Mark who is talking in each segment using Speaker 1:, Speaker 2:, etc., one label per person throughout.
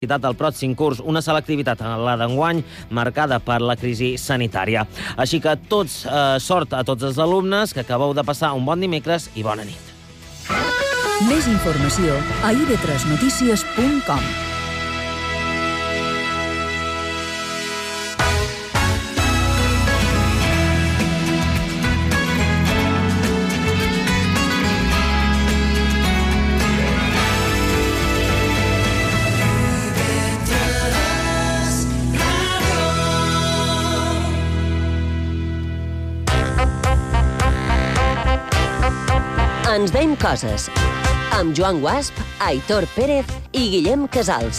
Speaker 1: activitat del pròxim curs, una sola activitat, la d'enguany, marcada per la crisi sanitària. Així que tots, eh, sort a tots els alumnes, que acabeu de passar un bon dimecres i bona nit.
Speaker 2: Més informació a ib3notícies.com.
Speaker 3: Ens veiem coses. Amb Joan Guasp, Aitor Pérez i Guillem Casals.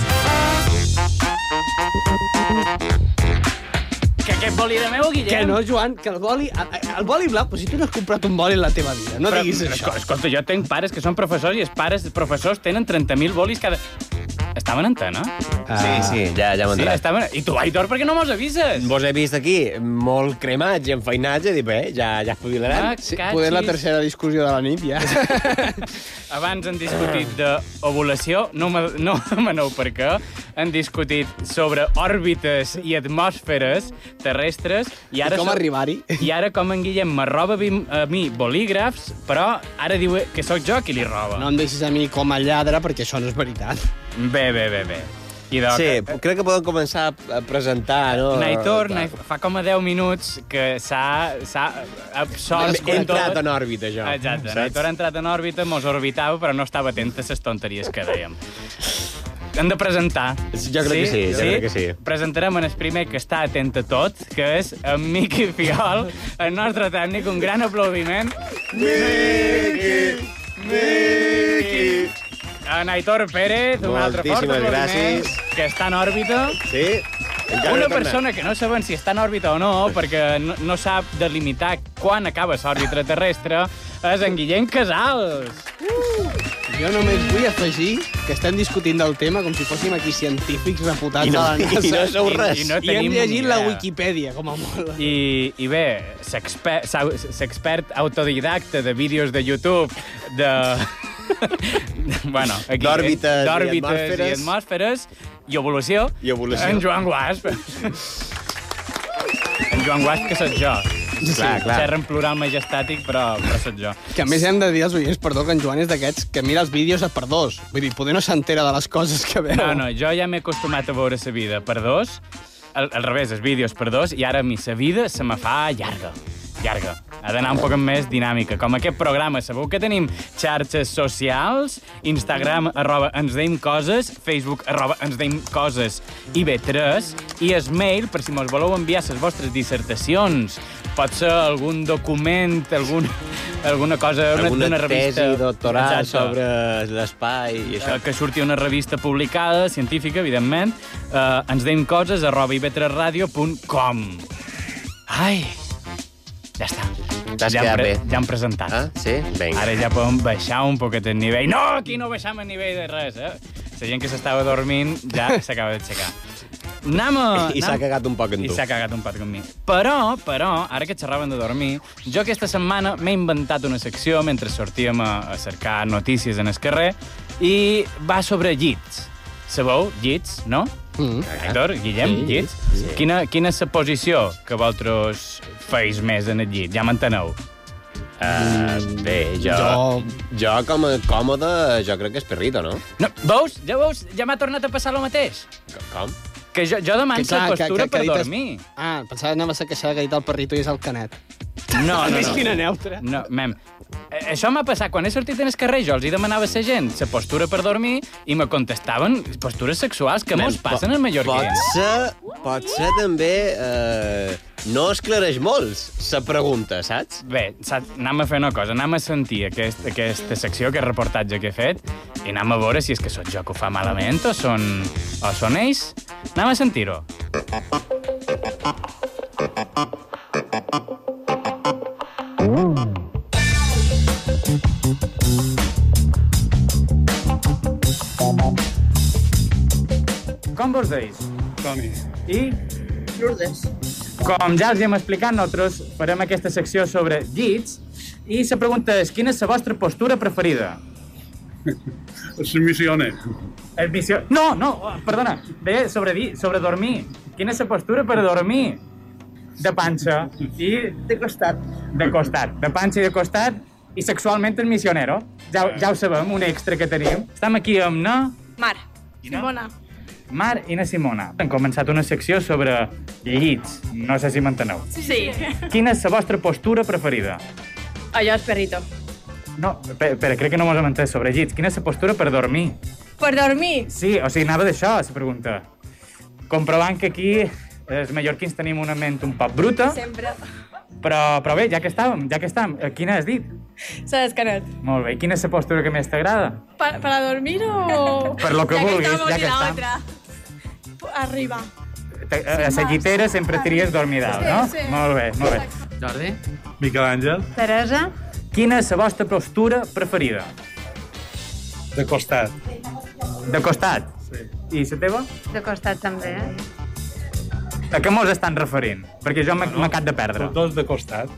Speaker 4: Que aquest boli de meu, Guillem?
Speaker 5: Que no, Joan, que el boli... el- El boli blau, però si tu no has comprat un boli en la teva vida, no
Speaker 4: Però,
Speaker 5: diguis això.
Speaker 4: esco- Escolta, jo tenc pares que són professors i els pares professors tenen 30.000 bolis cada... Estava en antena?
Speaker 6: Sí, Ah. sí, ja, ja m'ha
Speaker 4: Sí,
Speaker 6: entrat.
Speaker 4: estaven... I tu, Aitor, per què no mos avises?
Speaker 6: Vos he vist aquí molt cremats i enfeinats, i he dit, bé, ja,
Speaker 4: Ah,
Speaker 6: ja espavilaran.
Speaker 5: Sí,
Speaker 4: cachis.
Speaker 5: poder la tercera discussió de la nit, ja.
Speaker 4: Abans han discutit d'ovulació, no, me- no demaneu per què. Han discutit sobre òrbites i atmosferes terrestres. I, ara
Speaker 5: I com
Speaker 4: so-
Speaker 5: arribar-hi?
Speaker 4: I ara com en Guillem me roba bim- a mi bolígrafs, però ara diu que sóc jo qui li roba.
Speaker 5: No em deixis a mi com a lladre, perquè això no és veritat.
Speaker 4: Bé, bé, bé, doncs, bé. Idò,
Speaker 6: Sí,
Speaker 4: que-
Speaker 6: crec que poden començar a presentar, no?
Speaker 4: Naitor, Nai- fa com a 10 minuts que s'ha s'ha absolt...
Speaker 6: He entrat en òrbita, jo.
Speaker 4: Exacte,
Speaker 6: Saps?
Speaker 4: Naitor ha entrat en òrbita, mos orbitava, però no estava atent a les tonteries que dèiem. Hem de presentar.
Speaker 6: Sí, jo crec que sí, jo crec que sí.
Speaker 4: Presentarem en el primer que està atent a tot, que és en Miqui Fiol, el nostre tècnic. Un gran aplaudiment. Miqui! Miqui! En Aitor Pérez, un altre fort
Speaker 6: Moltíssimes
Speaker 4: aplaudiment,
Speaker 6: gràcies.
Speaker 4: que està en òrbita.
Speaker 6: Sí? Encara no
Speaker 4: Una
Speaker 6: he tornat.
Speaker 4: persona que no saben si està en òrbita o no, perquè no, no sap delimitar quan acaba l'òrbita terrestre, és en Guillem Casals.
Speaker 5: Jo només vull afegir que estem discutint del tema com si fóssim aquí científics reputats
Speaker 6: I
Speaker 5: de
Speaker 6: no,
Speaker 5: la NASA.
Speaker 6: i no sou
Speaker 4: I-
Speaker 6: res.
Speaker 4: i no-
Speaker 5: I hem
Speaker 4: tenim
Speaker 5: llegit
Speaker 4: ni
Speaker 5: la
Speaker 4: idea.
Speaker 5: Wikipedia, com a molt.
Speaker 4: I, i bé, s'exper- s'au- s'expert autodidacta de vídeos de YouTube, de... bueno, aquí...
Speaker 6: D'òrbites i
Speaker 4: d'òrbites i
Speaker 6: atmosferes.
Speaker 4: atmosferes. I evolució.
Speaker 6: I evolució.
Speaker 4: En Joan Guasp. en Joan Guasp, que sóc jo.
Speaker 6: clar, clar.
Speaker 4: Serra en plural majestàtic, però, però sóc jo.
Speaker 5: Que a més hem de dir als oients, perdó, que en Joan és d'aquests que mira els vídeos a per dos. Vull dir, poder no s'entera de les coses que veu.
Speaker 4: No, no, jo ja m'he acostumat a veure sa vida per dos, al, al revés, els vídeos per dos, i ara a mi sa vida se me fa llarga, llarga. Ha d'anar un poc més dinàmica. Com aquest programa, sabeu que tenim xarxes socials, Instagram, arroba, ens deim coses, Facebook, arroba, ens deim coses, IB3, i es mail, per si mos voleu enviar les vostres dissertacions, pot ser algun document, algun, alguna cosa d'una-
Speaker 6: Alguna
Speaker 4: d'una revista...
Speaker 6: tesi doctoral
Speaker 4: Exacte
Speaker 6: sobre l'espai i
Speaker 4: eh,
Speaker 6: això.
Speaker 4: que surti una revista publicada, científica, evidentment, eh, ens deim coses arroba ivetresradio.com. Ai, ja està.
Speaker 6: T'has
Speaker 4: ja,
Speaker 6: quedat
Speaker 4: han pre-
Speaker 6: bé.
Speaker 4: ja han presentat.
Speaker 6: Ah, sí? Vinga.
Speaker 4: Ara ja podem baixar un poquet el nivell. No, aquí no baixam el nivell de res, eh? La gent que s'estava dormint ja s'acaba d'aixecar. Anem a...
Speaker 6: I s'ha
Speaker 4: anem-
Speaker 6: cagat un poc en
Speaker 4: Ah, i
Speaker 6: tu.
Speaker 4: s'ha cagat un pot amb mi. Però, però, ara que xerraven de dormir, jo aquesta setmana m'he inventat una secció mentre sortíem a, a cercar notícies en el carrer i va sobre llits. Sabeu? Llits, no? Mm. Héctor, Guillem, sí, llits. Sí. Quina, quina és la posició que vosaltres feis més en el llit? Ja m'enteneu. Ah, Mm.
Speaker 6: Uh, bé, jo...
Speaker 5: Jo-
Speaker 6: Jo, com a còmode, jo crec que és perrito, no?
Speaker 4: No, veus? Ja veus? Ja m'ha tornat a passar el mateix.
Speaker 6: Com? Com?
Speaker 4: Que jo, jo demano la
Speaker 5: clar,
Speaker 4: postura
Speaker 5: ha
Speaker 4: per
Speaker 5: dit es-
Speaker 4: dormir.
Speaker 5: Ah, pensava que anaves a queixar que ha dit el perrito i és el canet.
Speaker 4: No, no,
Speaker 5: Ves
Speaker 4: no.
Speaker 5: quina neutra.
Speaker 4: No, mem. Eh, Això m'ha passat quan he sortit en el carrer, jo els hi demanava a la gent la postura per dormir i me contestaven postures sexuals que mos passen en mallorquins.
Speaker 6: Pot ser, pot ser també... Eh, no esclareix molts la pregunta, saps?
Speaker 4: Bé, saps, anem a fer una cosa, anem a sentir aquest, aquesta secció, aquest reportatge que he fet, i anem a veure si és que sóc jo que ho fa malament o són, o són ells. Anem a sentir-ho. Com vos deis? Toni. I? Com ja els hem explicat, nosaltres farem aquesta secció sobre llits i la pregunta és quina és la vostra postura preferida?
Speaker 7: Es misiones.
Speaker 4: El vicio... No, no, oh, perdona. Deia sobre, dir, sobre dormir. Quina és la postura per dormir? De panxa i... De costat. De costat. De panxa i de costat i sexualment el missionero. Ja, ho- ja ho sabem, un extra que tenim. Estem aquí amb na
Speaker 8: Mar.
Speaker 4: Quina?
Speaker 8: Simona.
Speaker 4: Mar i na Simona. Han començat una secció sobre llits. No sé si m'enteneu.
Speaker 8: Sí.
Speaker 4: Quina és la vostra postura preferida?
Speaker 8: Allò és perrito.
Speaker 4: No, pe- espera, crec que no mos hem entès sobre llits. Quina és la postura per dormir?
Speaker 8: Per dormir.
Speaker 4: Sí, o sigui, anava d'això, la pregunta. Comprovant que aquí eh, els mallorquins tenim una ment un poc bruta,
Speaker 8: Sempre.
Speaker 4: però, però bé, ja que estàvem, ja que estàvem, eh, quina has dit?
Speaker 8: S'ha descanat.
Speaker 4: Molt bé, i quina és la postura que més t'agrada?
Speaker 8: Pa, para dormir o...?
Speaker 4: Per lo que vulguis, ja que
Speaker 8: estamos
Speaker 4: estam.
Speaker 8: Arriba.
Speaker 4: Te- eh, A la llitera sempre tries dormir dalt, no?
Speaker 8: Sí, sí.
Speaker 4: Molt bé, molt bé.
Speaker 9: Jordi?
Speaker 7: Miquel Àngel,
Speaker 10: Teresa,
Speaker 4: Quina és la vostra postura preferida?
Speaker 7: de costat.
Speaker 4: De costat? Sí. I la teva?
Speaker 10: de costat també, eh?
Speaker 4: A què mos estan referint? Perquè jo m'he no, no. de perdre.
Speaker 7: Tots dos de costat.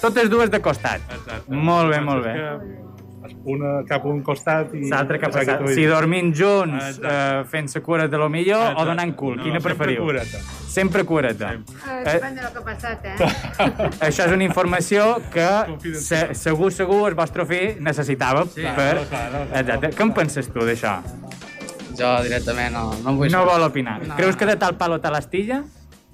Speaker 4: Totes dues de costat. Molt bé, molt bé.
Speaker 7: Que una cap a un costat i...
Speaker 4: L'altre que ha passat.
Speaker 7: Exacte.
Speaker 4: Si dormim
Speaker 7: Ah,
Speaker 4: junts,
Speaker 7: exacte.
Speaker 4: eh, fent-se cures de lo millor o
Speaker 7: Exacte.
Speaker 4: donant cul.
Speaker 7: No,
Speaker 4: Quina
Speaker 7: sempre
Speaker 4: preferiu?
Speaker 7: cureta.
Speaker 4: Sempre cureta. Eh,
Speaker 10: Depèn de lo que ha passat, eh?
Speaker 4: això és una informació que
Speaker 7: Confidencial.
Speaker 4: se, segur, segur, el vostre fill necessitava. Sí, per... Exacte. Què en penses tu d'això?
Speaker 9: Jo directament no, no em vull
Speaker 4: No
Speaker 9: saber.
Speaker 4: vol opinar.
Speaker 9: No.
Speaker 4: Creus que de tal palo tal astilla?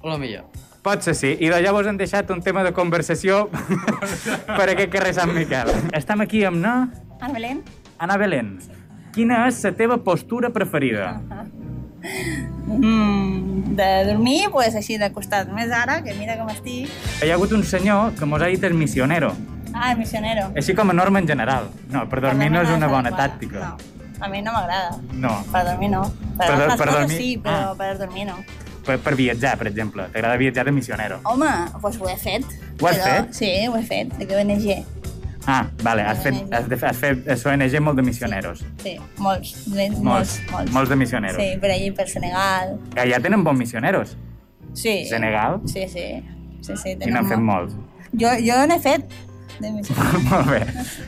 Speaker 9: Lo millor.
Speaker 4: Pot ser sí. I de llavors han deixat un tema de conversació per aquest carrer Sant Miquel. Estem aquí amb na...
Speaker 8: Ana Belén?
Speaker 4: Ana Belén. Quina és la teva postura preferida?
Speaker 8: Mm, de dormir, pues, així de costat. Més ara, que mira com estic.
Speaker 4: Hi ha hagut un senyor que mos ha dit el missionero.
Speaker 8: Ah, el missionero.
Speaker 4: Així com a norma en general. No, per dormir no és una bona
Speaker 8: adequada.
Speaker 4: tàctica.
Speaker 8: No, a mi no m'agrada.
Speaker 4: No.
Speaker 8: Per dormir no. Per,
Speaker 4: Per do-
Speaker 8: altres
Speaker 4: per
Speaker 8: coses
Speaker 4: dormir-
Speaker 8: Sí, però
Speaker 4: Ah.
Speaker 8: per dormir no.
Speaker 4: Per, per viatjar, per exemple. T'agrada viatjar de missionero.
Speaker 8: Home, doncs pues ho he fet.
Speaker 4: Ho has
Speaker 8: Però-
Speaker 4: fet?
Speaker 8: Sí, ho he fet, de que ONG.
Speaker 4: Ah, vale, has fet, has, de, has fet has ONG molt de missioneros.
Speaker 8: Sí, molts. Molts,
Speaker 4: Molts,
Speaker 8: molts. molts.
Speaker 4: molts de missioneros.
Speaker 8: Sí, per allí, per Senegal.
Speaker 4: Que ja tenen bons missioneros.
Speaker 8: Sí.
Speaker 4: Senegal?
Speaker 8: Sí, sí. Sí, sí,
Speaker 4: I n'han fet
Speaker 8: molt.
Speaker 4: molts.
Speaker 8: Jo, jo n'he fet. De missionero.
Speaker 4: molt bé.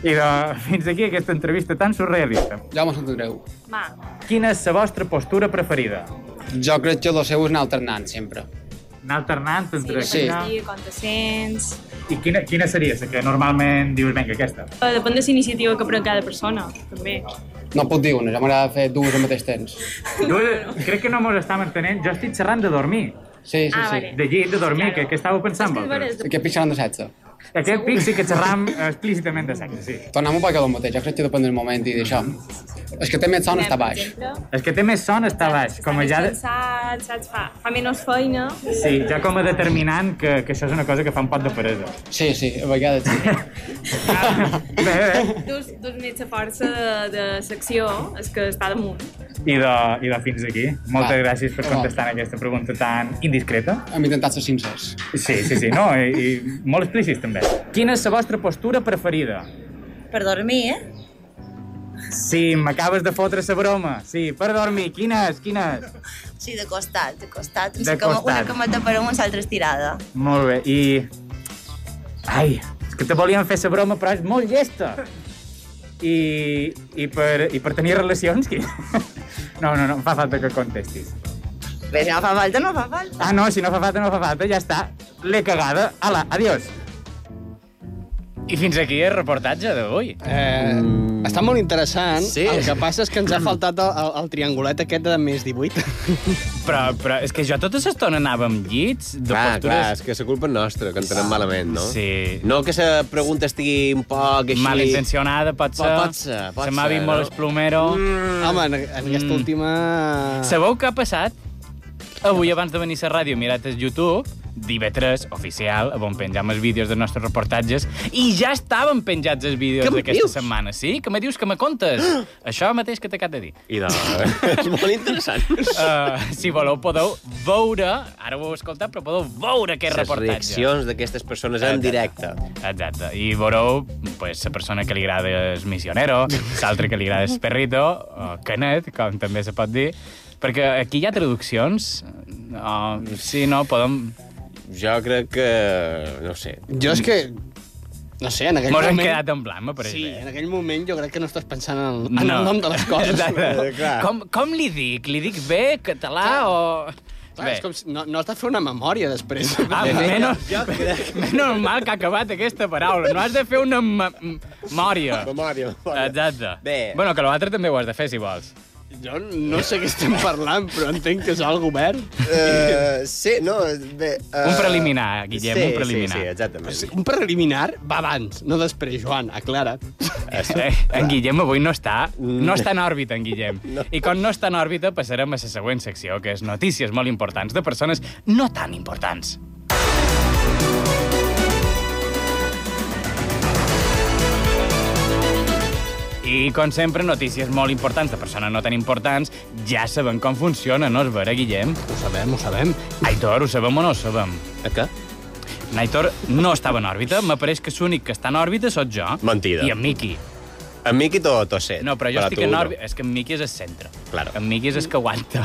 Speaker 4: I de, fins aquí aquesta entrevista tan surrealista.
Speaker 5: Ja mos entendreu.
Speaker 10: Ma,
Speaker 4: Quina és la vostra postura preferida?
Speaker 5: Jo crec que el seu és anar alternant, sempre.
Speaker 4: Anar alternant entre...
Speaker 5: Sí.
Speaker 4: quina-
Speaker 10: quan te sents...
Speaker 4: I quina, quina seria la que normalment dius, vinga, aquesta?
Speaker 10: Depèn de la iniciativa que pren cada persona, també.
Speaker 5: No puc dir una, ja m'agrada fer dues al mateix temps.
Speaker 4: Jo crec que no mos estem entenent. Jo estic xerrant de dormir.
Speaker 5: Sí, sí,
Speaker 10: Ah,
Speaker 5: sí.
Speaker 10: vale.
Speaker 4: De llit, de dormir, que, que estàveu pensant vosaltres?
Speaker 5: Que pixaran de setze.
Speaker 4: Aquest pic sí que xerram explícitament de sexe, sí.
Speaker 5: Tornem-ho perquè el mateix, jo crec que depèn del moment i d'això. És que té més son està baix.
Speaker 4: El que té més son està baix, com a ja, de-
Speaker 10: Saps, saps, fa, fa menys feina.
Speaker 4: sí, ja com a determinant que, que això és una cosa que fa un pot de peresa.
Speaker 5: Sí, sí, a vegades sí.
Speaker 4: bé, bé.
Speaker 10: Dus, dus més la força de, de secció és que està damunt.
Speaker 4: I de, I de fins aquí. Moltes
Speaker 5: Va.
Speaker 4: gràcies per contestar aquesta pregunta tan indiscreta.
Speaker 5: Hem intentat ser sincers.
Speaker 4: Sí, sí, sí, no, i, i molt explícit també. Quina és la vostra postura preferida?
Speaker 8: Per dormir, eh?
Speaker 4: Sí, m'acabes de fotre la broma. Sí, per dormir, quina és, quina és?
Speaker 8: Sí, de costat, de costat.
Speaker 4: De
Speaker 8: com
Speaker 4: costat.
Speaker 8: Una cameta per un, l'altra estirada.
Speaker 4: Molt bé, i... Ai, és que te volien fer la broma, però és molt llesta. I, i, per, i per tenir relacions, qui? No, no, no, em fa falta que contestis.
Speaker 8: Bé, si no fa falta, no fa falta.
Speaker 4: Ah, no, si no fa falta, no fa falta, ja està. L'he cagada. Ala, adiós. I fins aquí el reportatge d'avui.
Speaker 5: Eh, Està molt interessant.
Speaker 6: Sí.
Speaker 5: El que passa és que ens ha faltat el, el, el triangulet aquest de més 18.
Speaker 4: Però, però és que jo tota l'estona anava amb llits, de
Speaker 6: Clar,
Speaker 4: postures...
Speaker 6: clar, és que és la culpa nostra, que entenem malament, no?
Speaker 4: Ah, Sí.
Speaker 6: No que la pregunta estigui un poc així...
Speaker 4: Malintencionada, pot ser.
Speaker 6: Pot- pot ser, pot
Speaker 4: Se m'ha
Speaker 6: ser,
Speaker 4: vist
Speaker 6: no?
Speaker 4: molt esplomero.
Speaker 5: Mm. Home, en, en aquesta
Speaker 4: Mm.
Speaker 5: última...
Speaker 6: Ah.
Speaker 4: Sabeu què ha passat? Avui, abans de venir a la ràdio, he mirat el YouTube, d'IV3, oficial, on penjam els vídeos dels nostres reportatges, i ja estaven penjats els vídeos
Speaker 6: Què em
Speaker 4: d'aquesta
Speaker 6: dius? Ah!
Speaker 4: setmana, sí? Que me dius que me contes? Això mateix que t'he acabat de dir.
Speaker 6: I de...
Speaker 4: eh,
Speaker 6: és molt interessant.
Speaker 4: Uh, si voleu, podeu veure, ara ho heu escoltat, però podeu veure aquest
Speaker 6: Les
Speaker 4: reportatge.
Speaker 6: reaccions d'aquestes persones en directe.
Speaker 4: Exacte. I veureu pues, la persona que li agrada és missionero, l'altra que li agrada és perrito, o canet, com també se pot dir, perquè aquí hi ha traduccions. Oh, sí, no, podem...
Speaker 6: Jo crec que... no ho sé.
Speaker 5: Jo és que No sé, en aquell
Speaker 4: Mos hem
Speaker 5: moment...
Speaker 4: quedat eh. en blanc, m'apareix
Speaker 5: Sí,
Speaker 4: bé.
Speaker 5: en aquell moment jo crec que no estàs pensant en, el- en el nom de les coses.
Speaker 4: Exacte.
Speaker 6: Eh, clar.
Speaker 4: com, com li dic? Li dic bé, català o...
Speaker 5: Clar, és com si no, no has de fer una memòria després.
Speaker 4: Ah, menos, menos mal que ha acabat aquesta paraula. No has de fer una me- memòria.
Speaker 6: Memòria, memòria.
Speaker 4: Exacte.
Speaker 6: Bé.
Speaker 4: Bueno, que l'altre també ho has de fer, si vols.
Speaker 5: Jo no sé què estem parlant, però entenc que és el govern.
Speaker 6: Eh, sí, no, bé... eh,
Speaker 4: Un preliminar, Guillem,
Speaker 6: sí,
Speaker 4: un preliminar.
Speaker 6: Sí, sí, exactament. Sí.
Speaker 5: Un preliminar va abans, no després, Joan, aclara.
Speaker 4: Eh, en Guillem avui no està,
Speaker 5: Mm.
Speaker 4: no està en òrbita, en Guillem. I com no està en òrbita, passarem a la següent secció, que és notícies molt importants de persones no tan importants. I, com sempre, notícies molt importants de persones no tan importants. Ja sabem com funciona, no és vera, Guillem?
Speaker 5: Ho sabem, ho sabem.
Speaker 4: Aitor, ho sabem o no ho sabem?
Speaker 6: A què?
Speaker 4: Naitor no estava en òrbita, m'apareix que l'únic que està en òrbita sóc jo.
Speaker 6: Mentida.
Speaker 4: I en Miki.
Speaker 6: En Miqui tot o set.
Speaker 4: Eh, No, però jo
Speaker 6: Però
Speaker 4: estic
Speaker 6: tu
Speaker 4: en
Speaker 6: no.
Speaker 4: òrbita. És que en Miqui és el centre.
Speaker 6: Claro.
Speaker 4: En Miqui és el que aguanta.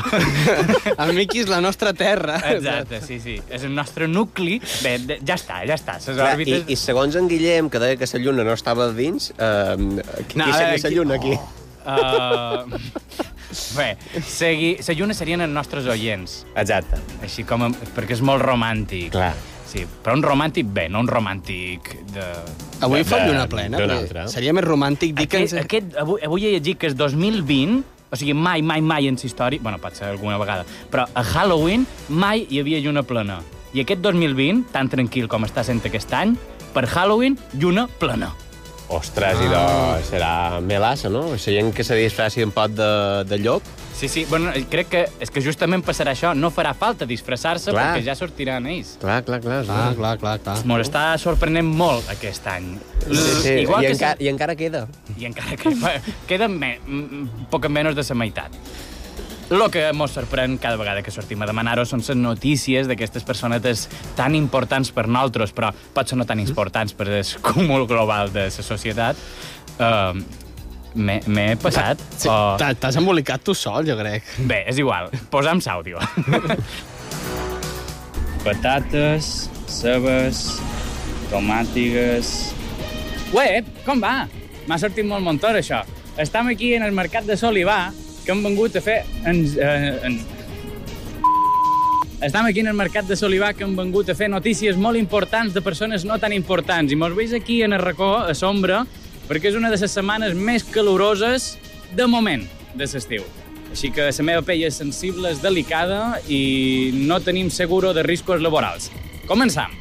Speaker 5: El Miqui és la nostra terra.
Speaker 6: Eh,
Speaker 4: Exacte, sí, sí. És el nostre nucli. Bé, de- ja està, ja està. Les
Speaker 6: Clar, i,
Speaker 4: òrbites...
Speaker 6: I segons en Guillem, que deia que la lluna no estava dins, eh, qui
Speaker 4: No, Oh.
Speaker 6: no,
Speaker 4: a
Speaker 6: seria
Speaker 4: veure,
Speaker 6: la
Speaker 4: qui-
Speaker 6: lluna aquí?
Speaker 4: Uh, bé, segui... La lluna serien els nostres oients.
Speaker 6: Exacte.
Speaker 4: Així com... em- Perquè és molt romàntic.
Speaker 6: Clar.
Speaker 4: Sí, però un romàntic bé, no un romàntic de...
Speaker 5: Avui
Speaker 6: De-
Speaker 5: fa
Speaker 6: de-
Speaker 5: lluna plena.
Speaker 6: eh, d'una
Speaker 5: perquè
Speaker 6: altra.
Speaker 5: Seria més romàntic dir que...
Speaker 4: Aquest, aquest, avui, avui he llegit que és 2020, o sigui, mai, mai, mai en història, bueno, pot ser alguna vegada, però a Halloween mai hi havia lluna plena. I aquest 2020, tan tranquil com està sent aquest any, per Halloween, lluna plena.
Speaker 6: Ostres, ah. idò, serà melassa, no? La gent que se disfraci un pot de, de llop.
Speaker 4: Sí, sí, bueno, crec que és que justament passarà això, no farà falta disfressar-se
Speaker 6: Clar.
Speaker 4: perquè ja sortiran ells.
Speaker 6: Clar, clar, clar.
Speaker 5: Ah, clar, clar, clar.
Speaker 4: Mos està sorprenent molt aquest any.
Speaker 6: Sí, sí.
Speaker 4: Igual
Speaker 6: I,
Speaker 4: que
Speaker 6: encara, I encara queda.
Speaker 4: i encara que queda me, mm, poc menys de la meitat. Lo que mos sorprèn cada vegada que sortim a demanar-ho són les notícies d'aquestes personetes tan importants per nosaltres, però potser no tan importants per el cúmul global de la societat. Uh, M'he m'he passat?
Speaker 5: Sí, t'ha- T'has embolicat tu sol, jo crec.
Speaker 4: Bé, és igual. Posa'm l'àudio.
Speaker 9: Patates, cebes, tomàtigues...
Speaker 4: Ué, com va? M'ha sortit molt montor, això. Estam aquí en el mercat de Solivà, que hem vengut a fer... Ens, eh, ens... Estam aquí en el mercat de Solivà, que hem vengut a fer notícies molt importants de persones no tan importants. I mos veus aquí en el racó, a sombra, perquè és una de les setmanes més caloroses de moment de l'estiu. Així que la meva pell és sensible, és delicada i no tenim seguro de riscos laborals. Començam.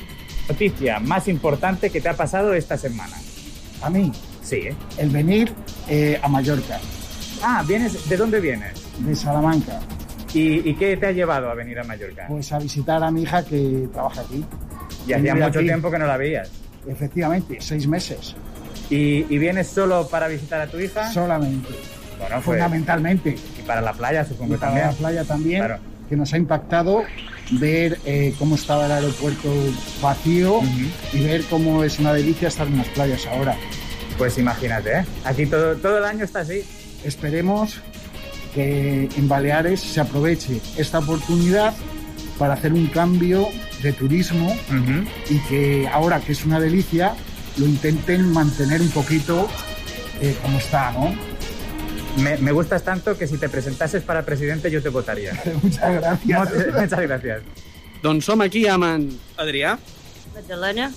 Speaker 7: Noticia más importante que te ha pasado esta semana.
Speaker 11: A mí,
Speaker 7: Sí, ¿eh?
Speaker 11: el venir eh, a Mallorca,
Speaker 7: Ah, vienes, ¿de dónde vienes?
Speaker 11: de Salamanca,
Speaker 7: ¿Y, y qué te ha llevado a venir a Mallorca?
Speaker 11: pues a visitar a mi hija que trabaja aquí.
Speaker 7: Y hacía
Speaker 11: Venir
Speaker 7: mucho
Speaker 11: aquí,
Speaker 7: tiempo que no la veías.
Speaker 11: Efectivamente, seis meses
Speaker 7: ¿Y, y vienes solo para visitar a tu hija?
Speaker 11: solamente,
Speaker 7: Bueno, pues,
Speaker 11: fundamentalmente.
Speaker 7: y para la playa supongo
Speaker 11: Y para
Speaker 7: también.
Speaker 11: la playa también,
Speaker 7: Claro.
Speaker 11: que nos ha impactado ver eh, cómo estaba el aeropuerto vacío y ver cómo es una delicia estar en las playas ahora.
Speaker 7: Pues imagínate, ¿eh? Aquí todo, todo el año está así.
Speaker 11: Esperemos que en Baleares se aproveche esta oportunidad para hacer un cambio de turismo y que ahora que es una delicia lo intenten mantener un poquito eh, como está, ¿no?
Speaker 7: me, me gustas tanto que si te presentases para presidente yo te votaría.
Speaker 11: Muchas gracias.
Speaker 7: Muchas muchas gracias.
Speaker 5: Doncs som aquí amb en Adrià
Speaker 10: Magdalena?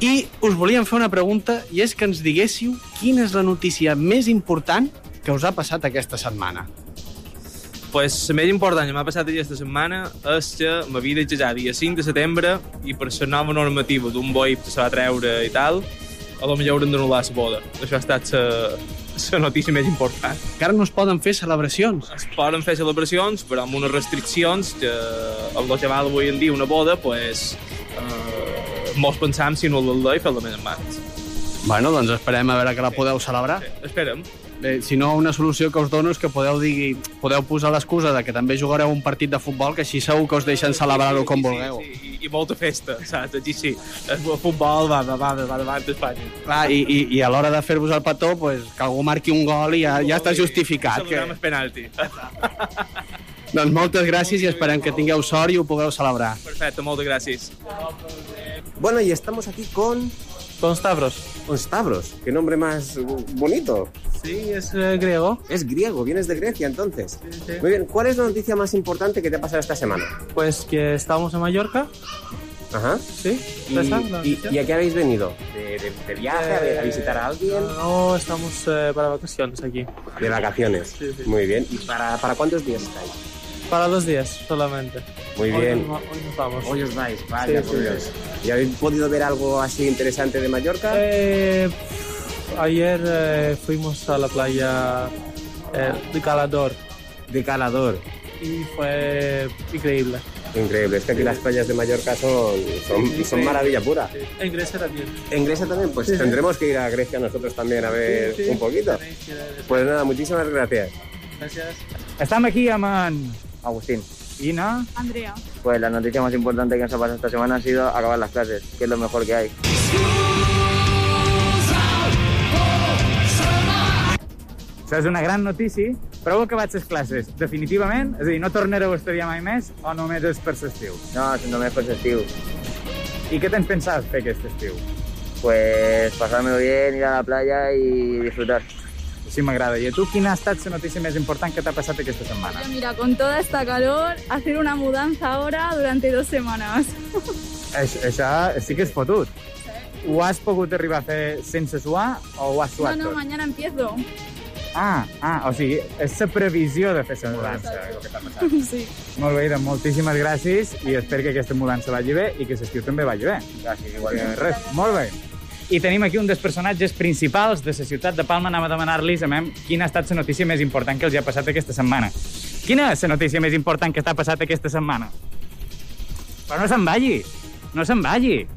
Speaker 5: i us volíem fer una pregunta i és que ens diguéssiu quina és la notícia més important que us ha passat aquesta setmana.
Speaker 12: doncs. pues, la més important que m'ha passat aquesta setmana és que m'havia vida ja dia 5 de setembre i per la nova normativa d'un boi que se va treure i tal, a lo millor haurem d'anul·lar la boda. Això ha estat la, la notícia més important.
Speaker 5: Encara no es poden fer celebracions.
Speaker 12: Es poden fer celebracions, però amb unes restriccions que amb el que val avui en dia una boda, pues, eh, molts pensam si no l'anul·lar i fer-la més en mans.
Speaker 5: Bueno, doncs esperem a veure que la podeu celebrar.
Speaker 12: Espera'm.
Speaker 5: Bé, Eh, si no, una solució que us dono és que podeu, digui, podeu posar l'excusa de que també jugareu un partit de futbol, que així segur que us deixen celebrar-ho com vulgueu.
Speaker 12: Sí, sí, i, i molta festa, saps? Aquí sí. El futbol va, va, va, va davant d'Espanya.
Speaker 5: Clar, i, i, i a l'hora de fer-vos el petó, pues, que algú marqui un gol i ja, ja està justificat.
Speaker 12: Que...
Speaker 5: Que...
Speaker 12: el penalti.
Speaker 5: Doncs moltes gràcies i esperem que tingueu sort i ho pugueu celebrar.
Speaker 12: Perfecte, moltes gràcies.
Speaker 13: Bueno, y estamos aquí con...
Speaker 11: Con Stavros.
Speaker 13: Con Stavros. Qué nombre más bu- bonito.
Speaker 11: Sí, eh, es griego.
Speaker 13: Es griego, vienes de Grecia entonces. Muy bien, ¿cuál es la noticia más importante que te ha pasado esta semana?
Speaker 11: Pues que estamos en Mallorca.
Speaker 13: Ajá.
Speaker 11: Sí.
Speaker 13: ¿Y,
Speaker 11: esa es la
Speaker 13: y,
Speaker 11: noticia. Eh,
Speaker 13: y a qué habéis venido? ¿De, de- de viaje? a ver, ¿A visitar a alguien?
Speaker 11: No, estamos eh, para vacaciones aquí.
Speaker 13: De vacaciones.
Speaker 11: Sí, sí.
Speaker 13: Muy bien. ¿Y para, para cuántos días estáis?
Speaker 11: Para dos días solamente.
Speaker 13: Muy
Speaker 11: Hoy
Speaker 13: bien.
Speaker 11: nos va- hoy nos vamos.
Speaker 13: Hoy os vais, vaya,
Speaker 11: Sí,
Speaker 13: por
Speaker 11: sí,
Speaker 13: Dios.
Speaker 11: sí.
Speaker 13: ¿Y habéis podido ver algo así interesante de Mallorca?
Speaker 11: Eh, pff, ayer eh, fuimos a la playa eh, de Calador.
Speaker 13: De Calador.
Speaker 11: Y fue increíble.
Speaker 13: Increíble, es que aquí las playas de Mallorca son, son, son
Speaker 11: Sí.
Speaker 13: maravilla pura.
Speaker 11: En Grecia también.
Speaker 13: En Grecia también, pues
Speaker 11: Sí, sí.
Speaker 13: tendremos que ir a Grecia nosotros también a ver
Speaker 11: Sí, sí.
Speaker 13: un poquito. Pues nada, muchísimas gracias.
Speaker 11: Gracias.
Speaker 14: Estem aquí amb en... Agustín. I na...
Speaker 8: Andrea.
Speaker 14: Pues la noticia más importante que nos ha pasado esta semana ha sido acabar las clases, que es lo mejor que hay.
Speaker 4: Això és una gran notícia. Prou que vaig a les classes, definitivament. És a dir, no tornareu a estudiar mai més o només és per l'estiu?
Speaker 14: No, només per l'estiu.
Speaker 4: I què tens pensat fer aquest estiu?
Speaker 14: Pues pasármelo bien, ir a la playa i disfrutar.
Speaker 4: Sí, m'agrada. I a tu, quina ha estat la notícia més important que t'ha passat aquesta setmana?
Speaker 8: Mira, con toda esta calor, hacer una mudanza ahora durante dos semanas.
Speaker 4: Això, això sí que és fotut. Ho has pogut arribar a fer sense suar o ho has
Speaker 8: No,
Speaker 4: suat
Speaker 8: no,
Speaker 4: tot?
Speaker 8: mañana empiezo.
Speaker 4: Ah, ah, o sigui, és la previsió de fer la mudança. el que t'ha passat.
Speaker 8: Sí.
Speaker 4: Molt bé, doncs moltíssimes gràcies i espero que aquesta mudança vagi bé i que l'estiu també vagi bé. Gràcies,
Speaker 14: igualment.
Speaker 4: Res, molt bé. I tenim aquí un dels personatges principals de la ciutat de Palma. Anava a demanar-los, amem, quina ha estat la notícia més important que els hi ha passat aquesta setmana. Quina és la notícia més important que t'ha passat aquesta setmana? Però no se'n vagi! No se'n vagi!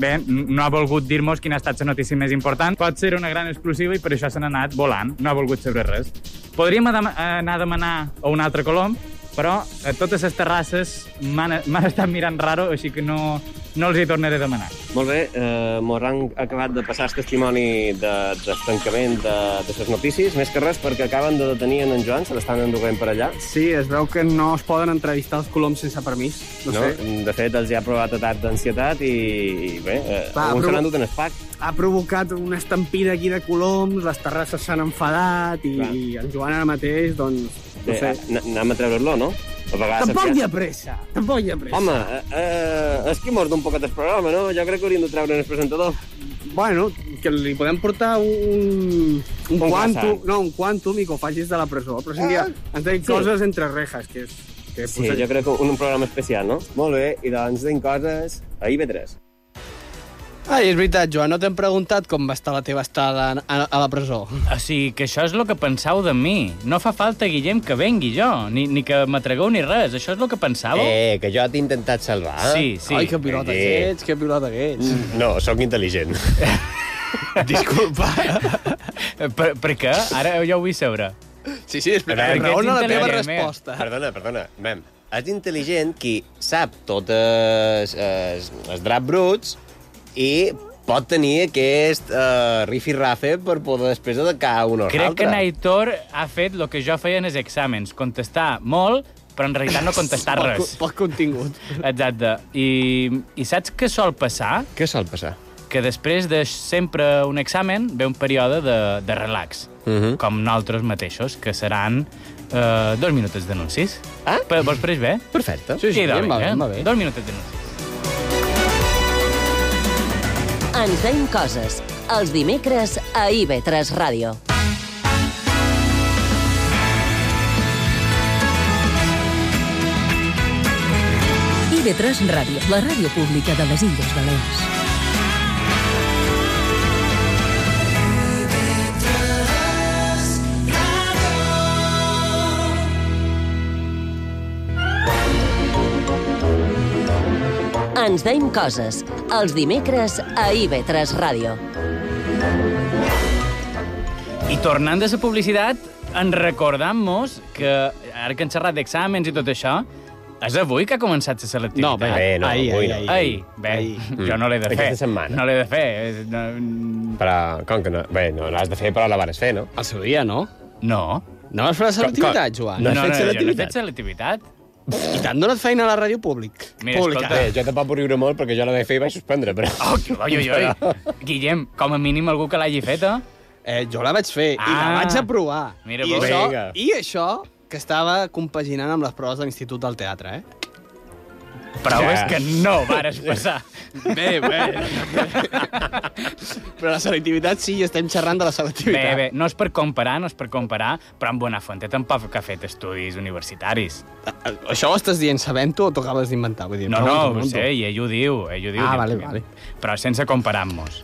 Speaker 4: Bé, n- no ha volgut dir-nos quina ha estat la notícia més important. Pot ser una gran exclusiva i per això se n'ha anat volant. No ha volgut saber res. Podríem adem- eh, anar a demanar a un altre colom, però a totes les terrasses m'han m'han estat mirant raro, així que no, no els hi tornaré a demanar.
Speaker 6: Molt bé, eh, mos han acabat de passar el testimoni de, del tancament de, de les notícies, més que res perquè acaben de detenir en, en Joan, se l'estan enduguent per allà.
Speaker 5: Sí, es veu que no es poden entrevistar els coloms sense permís. No,
Speaker 6: No?
Speaker 5: sé.
Speaker 6: De fet, els hi ha provat atac d'ansietat i, i bé, eh,
Speaker 5: Va,
Speaker 6: alguns se
Speaker 5: però-
Speaker 6: l'han dut en el pack.
Speaker 5: Ha provocat una estampida aquí de coloms, les terrasses s'han enfadat i,
Speaker 6: Clar.
Speaker 5: i en Joan ara mateix, doncs, no
Speaker 6: Bé,
Speaker 5: sé.
Speaker 6: Eh, a- n- anem a treure-lo, no? A vegades
Speaker 5: Tampoc
Speaker 6: s'ha-
Speaker 5: hi ha pressa, tampoc hi ha pressa.
Speaker 6: Home, eh, eh, és que mort un poquet el programa, no? Jo crec que hauríem de treure el presentador.
Speaker 5: Bueno, que li podem portar un, un,
Speaker 6: Un
Speaker 5: quantum,
Speaker 6: croissant.
Speaker 5: no, un quantum i que ho facis de la presó. Però sí,
Speaker 6: Ah,
Speaker 5: ah, ens deien
Speaker 6: sí.
Speaker 5: coses entre rejas, que és... Que
Speaker 6: Sí, jo crec que un, un programa especial, no? Molt bé, i doncs tenim coses a IB3.
Speaker 5: Ai, és veritat, Joan, no t'hem preguntat com va estar la teva estada a, a, a la presó.
Speaker 15: O sigui, que això és el que pensau de mi. No fa falta, Guillem, que vengui jo, ni, ni que m'atregueu ni res. Això és el que pensàveu?
Speaker 6: Eh, que jo t'he intentat salvar.
Speaker 15: Sí, sí.
Speaker 5: Ai, que pilota
Speaker 6: Eh.
Speaker 5: que ets, que pilota que ets.
Speaker 6: No, sóc intel·ligent.
Speaker 15: Disculpa. per, per què? Ara jo ho vull saber.
Speaker 5: Sí, sí,
Speaker 15: explica. Raona la teva resposta.
Speaker 6: Perdona, perdona. Mem, és intel·ligent qui sap totes es, els draps bruts i pot tenir aquest uh, rifi-rafe per poder després atacar un o
Speaker 15: Crec que
Speaker 6: altre.
Speaker 15: Naitor ha fet el que jo feia en els exàmens, contestar molt, però en realitat no contestar
Speaker 5: Poc-
Speaker 15: res.
Speaker 5: Poc contingut.
Speaker 15: Exacte. I, I saps què sol passar?
Speaker 6: Què sol passar?
Speaker 15: Que després de sempre un examen ve un període de, de relax,
Speaker 6: Mhm.
Speaker 15: com nosaltres mateixos, que seran eh, dos minutets d'anuncis. Ah? Però, vols pareix bé?
Speaker 6: Perfecte.
Speaker 5: Sí, sí,
Speaker 15: I
Speaker 5: em va bé,
Speaker 15: eh?
Speaker 5: em va bé.
Speaker 15: Dos minutets d'anuncis.
Speaker 16: Ens veiem coses. Els dimecres a IB3 Ràdio.
Speaker 17: IB3 Ràdio, la ràdio pública de les Illes Balears.
Speaker 16: Ens veiem coses. Els dimecres a IB3 Ràdio.
Speaker 15: I tornant de la publicitat, en recordam-nos que, ara que hem xerrat d'exàmens i tot això, és avui que ha començat la selectivitat.
Speaker 6: No, bé, bé, no,
Speaker 15: ai,
Speaker 6: avui
Speaker 15: ai,
Speaker 6: no.
Speaker 15: ai, bé, jo no l'he de fer.
Speaker 6: Aquesta setmana.
Speaker 15: No l'he de fer. és- No...
Speaker 6: Però, com que no... Bé, no l'has de fer, però la vares fer, no?
Speaker 5: El seu dia, no?
Speaker 15: No.
Speaker 5: No vas fer la selectivitat, Joan?
Speaker 6: Ah, No has
Speaker 15: no,
Speaker 6: fet
Speaker 15: no, jo no he
Speaker 6: selectivitat?
Speaker 15: fet selectivitat.
Speaker 5: I t'han donat feina a la ràdio públic.
Speaker 4: Mira, Pública. escolta.
Speaker 6: Bé, jo tampoc puc riure molt perquè jo la vaig fer i vaig suspendre, però...
Speaker 4: Oh, Oi, oi, oi. Guillem, com a mínim algú que l'hagi fet, eh?
Speaker 5: Eh, jo la vaig fer
Speaker 4: ah.
Speaker 5: I la vaig aprovar.
Speaker 4: Mira,
Speaker 5: I
Speaker 4: vos.
Speaker 5: això,
Speaker 4: Vinga.
Speaker 5: I això que estava compaginant amb les proves de l'Institut del Teatre, eh?
Speaker 4: Proves que no vares passar.
Speaker 5: Bé, bé. Però la selectivitat sí, i estem xerrant de la selectivitat.
Speaker 4: Bé, bé, no és per comparar, no és per comparar, però en Bonafuente tampoc que ha fet estudis universitaris.
Speaker 5: Això ho estàs dient sabent-ho o t'ho acabes d'inventar? Vull dir,
Speaker 4: No, no,
Speaker 5: pregunto,
Speaker 4: ho
Speaker 5: pregunto.
Speaker 4: sé, i ell ho diu, ell ho diu.
Speaker 5: Ah, vale,
Speaker 4: directament. Però sense comparar-nos.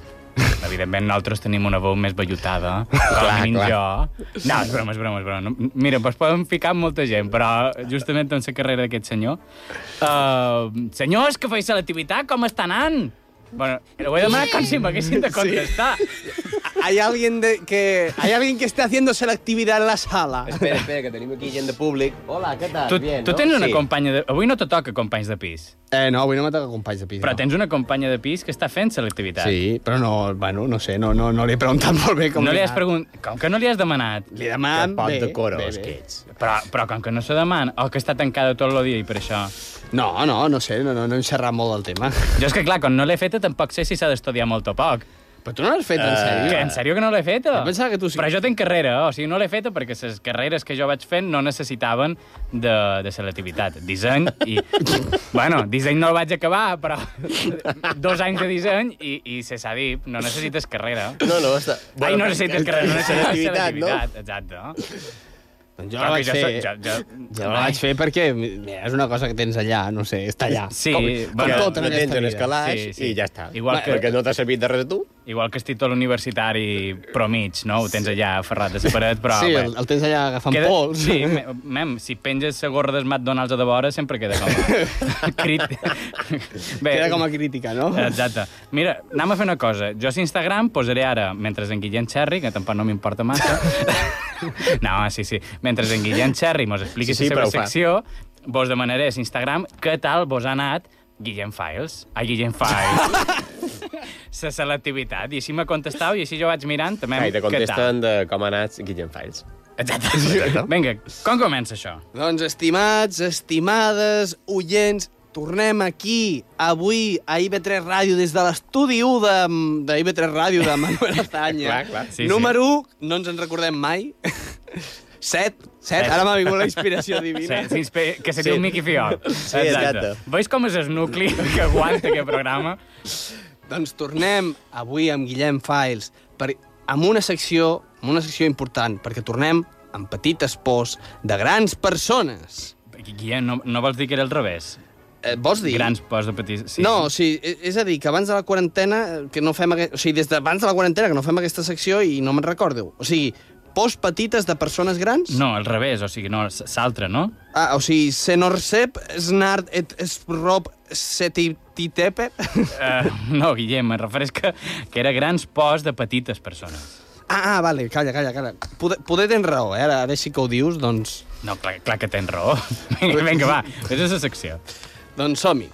Speaker 4: Evidentment, nosaltres tenim una veu més vellutada, com a mínim
Speaker 9: clar.
Speaker 4: jo. No, és broma, és broma, és broma. No, Mira, pues poden ficar amb molta gent, però justament doncs, en la carrera d'aquest senyor... Uh, senyors, que feis selectivitat, com està anant? Bueno, ho he demanat com si m'haguessin de contestar.
Speaker 5: Hay alguien de que hay alguien que esté haciendo selectividad en la sala.
Speaker 6: Espera, espera, que tenim aquí gent de públic. Hola, què tal?
Speaker 4: Tu,
Speaker 6: Bien,
Speaker 4: tu
Speaker 6: no?
Speaker 4: tens una
Speaker 6: Sí.
Speaker 4: companya de... Avui no te toca companys de pis.
Speaker 5: Eh, no, avui no me toca companys de pis.
Speaker 4: Però tens una companya de pis que està fent selectivitat.
Speaker 5: Sí, però no, bueno, no sé, no, no, no li he preguntat molt bé com
Speaker 4: no li
Speaker 5: li
Speaker 4: has pregunt... Com que no li has demanat?
Speaker 5: Li he demanat...
Speaker 4: Que pot
Speaker 5: bé,
Speaker 4: de coros,
Speaker 5: bé, bé.
Speaker 4: que ets. Però, però com que no se demana, o que està tancada tot el dia i per això...
Speaker 5: No, no, no sé, no, no, no hem xerrat molt del tema.
Speaker 4: Jo és que, clar, com no l'he feta, tampoc sé si s'ha d'estudiar molt o poc.
Speaker 5: Però tu no l'has feta, en
Speaker 4: Eh,
Speaker 5: sèrio?
Speaker 4: Que, en sèrio que no l'he feta?
Speaker 5: Eh. Jo pensava que tu sí.
Speaker 4: Però jo tenc carrera, oh, o sigui, no l'he feta perquè les carreres que jo vaig fent no necessitaven de, de selectivitat. Disseny i... bueno, disseny no el vaig acabar, però dos anys de disseny i, i se s'ha dit, no necessites carrera.
Speaker 6: No, no, està...
Speaker 4: Ai, no necessites carrera, no necessites
Speaker 6: Selectivitat, no?
Speaker 4: selectivitat. Exacte.
Speaker 5: Doncs Jo
Speaker 4: Però
Speaker 5: la
Speaker 4: que
Speaker 5: vaig fer,
Speaker 4: Jo, jo, jo,
Speaker 5: jo la vaig fer perquè mira, és una cosa que tens allà, no sé, està allà.
Speaker 4: Sí,
Speaker 5: com,
Speaker 4: bueno,
Speaker 5: com tot en
Speaker 4: no
Speaker 5: aquesta
Speaker 4: tens on
Speaker 5: vida.
Speaker 4: escalar, Sí, sí. i ja està. Igual que-
Speaker 6: Perquè no t'ha servit de res a tu?
Speaker 4: Igual que el títol universitari pro mig, no? Ho tens allà aferrat a la paret, però...
Speaker 5: sí,
Speaker 4: Ah, bé.
Speaker 5: el, el tens allà agafant
Speaker 4: Queda-
Speaker 5: pols.
Speaker 4: Sí, me- mem, si penges la gorra dels McDonald's a de vora, sempre queda com a... Crit... Bé, Eh.
Speaker 5: Queda com a crítica, no?
Speaker 4: Exacte. Mira, anem a fer una cosa. Jo a Instagram posaré ara, mentre en Guillem Xerri, que tampoc no m'importa massa... no, sí, sí. Mentre en Guillem Xerri mos expliqui sí,
Speaker 5: Sí, sí,
Speaker 4: sí, la
Speaker 5: però ho fa.
Speaker 4: seva secció, vos demanaré a Instagram què tal vos ha anat Guillem Files. A Guillem Files. la selectivitat. I així m'ha contestat i així jo vaig mirant també
Speaker 6: Ai, te
Speaker 4: què tal.
Speaker 6: contesten de com ha anat Guillem Files.
Speaker 4: Exacte. Vinga, com comença això?
Speaker 5: Doncs, estimats, estimades, oients, tornem aquí, avui, a IB3 Ràdio, des de l'estudi 1 de, de IB3 Ràdio de Manuel Azanya.
Speaker 6: Clar, clar. Sí, sí.
Speaker 5: Número 1, no ens en recordem mai. 7, 7, ara m'ha vingut la inspiració divina.
Speaker 4: Sí, s'inspira- que seria sí.
Speaker 5: Sí.
Speaker 4: un Miqui Fiol.
Speaker 5: Sí, exacte.
Speaker 4: Veus com és el nucli que aguanta aquest programa?
Speaker 5: Doncs tornem avui amb Guillem Files per, amb una secció amb una secció important, perquè tornem amb petites pors de grans persones.
Speaker 4: Guillem, eh? no, no vols dir que era al revés?
Speaker 5: Eh, vols dir?
Speaker 4: Grans pors de petits...
Speaker 5: Sí. No, o sigui, e- és a dir, que abans de la quarantena, eh, que no fem aquest... o sigui, des d'abans de la quarantena que no fem aquesta secció i no me'n recordo. O sigui, pors petites de persones grans?
Speaker 4: No, al revés, o sigui, no, s- s'altre, no?
Speaker 5: Ah, o sigui, senorsep, snart et esprop setititeper?
Speaker 4: Uh, no, Guillem, em refereix que, que era grans pors de petites persones.
Speaker 5: Ah, ah, vale, calla, calla, calla. Poder, poder tens raó, eh? Ara, ara sí que ho dius, doncs...
Speaker 4: No, clar, clar que tens raó. Vinga, vinga, va, vés a la secció.
Speaker 5: Doncs som-hi.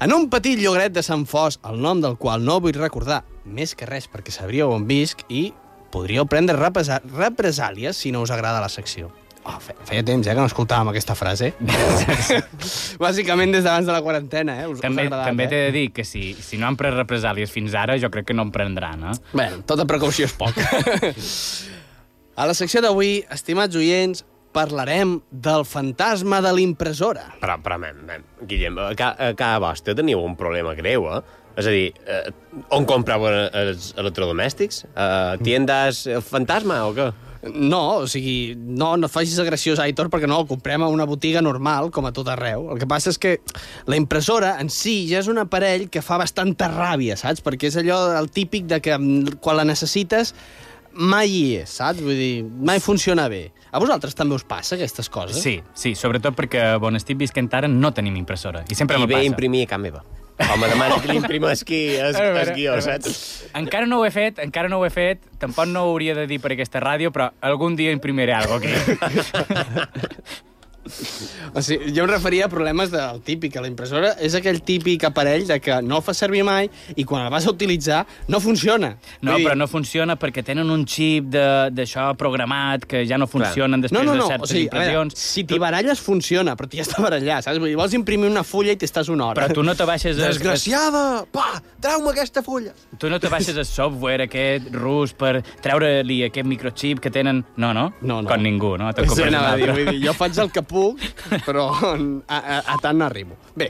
Speaker 5: En un petit llogaret de Sant Fos, el nom del qual no vull recordar, més que res perquè sabríeu on visc i podríeu prendre repesa- represàlies si no us agrada la secció. Oh, fe feia temps, eh, que no escoltàvem aquesta frase. Bàsicament des d'abans de la quarantena, eh? Us,
Speaker 4: També,
Speaker 5: us ha agradat,
Speaker 4: també t'he
Speaker 5: eh?
Speaker 4: de dir que si, si no han pres represàlies fins ara, jo crec que no en prendran, eh?
Speaker 5: Bé, tota precaució és poca. A la secció d'avui, estimats oients, parlarem del fantasma de l'impressora.
Speaker 6: Però, però, men, men, Guillem, a, ca, a cada vostra teniu un problema greu, eh? És a dir, eh, on compreu els electrodomèstics? Eh, tiendas eh, fantasma o què?
Speaker 5: No, o sigui, no, no et facis agressió, Aitor, perquè no, el comprem a una botiga normal, com a tot arreu. El que passa és que la impressora en si ja és un aparell que fa bastanta ràbia, saps? Perquè és allò el típic de que mm, quan la necessites mai hi és, saps? Vull dir, mai funciona bé. A vosaltres també us passa aquestes coses?
Speaker 4: Sí, sí, sobretot perquè on estic visquent ara no tenim impressora. I sempre
Speaker 6: I
Speaker 4: me
Speaker 6: ve
Speaker 4: passa.
Speaker 6: a imprimir a casa meva. Home, demana que l'imprima el qui- el-
Speaker 4: A veure,
Speaker 6: el guió,
Speaker 4: a veure.
Speaker 6: saps?
Speaker 4: Encara no ho he fet, encara no ho he fet, tampoc no ho hauria de dir per aquesta ràdio, però algun dia imprimiré alguna cosa aquí.
Speaker 5: O sigui, jo em referia a problemes del típic. que La impressora és aquell típic aparell de que no el fa servir mai i quan el vas a utilitzar no funciona.
Speaker 4: No,
Speaker 5: Vull dir-
Speaker 4: però no funciona perquè tenen un xip de- d'això programat que ja no funcionen després
Speaker 5: no, no, no.
Speaker 4: de certes
Speaker 5: o sigui, a
Speaker 4: impressions.
Speaker 5: Veure, si t'hi baralles, funciona, però t'hi has de barallar, saps? Vull dir, vols imprimir una fulla i t'estàs una hora.
Speaker 4: Però tu no te baixes a-
Speaker 5: Desgraciada! Pa! Trau-me aquesta fulla!
Speaker 4: Tu no te baixes el software aquest rus per treure-li aquest microchip que tenen... No, no? No, no. Con ningú, no? Te'l
Speaker 5: Sí,
Speaker 4: compres
Speaker 5: anava a
Speaker 4: un
Speaker 5: dir,
Speaker 4: altre.
Speaker 5: vull dir, jo faig el que puc, però a, a, a tant no arribo. Bé,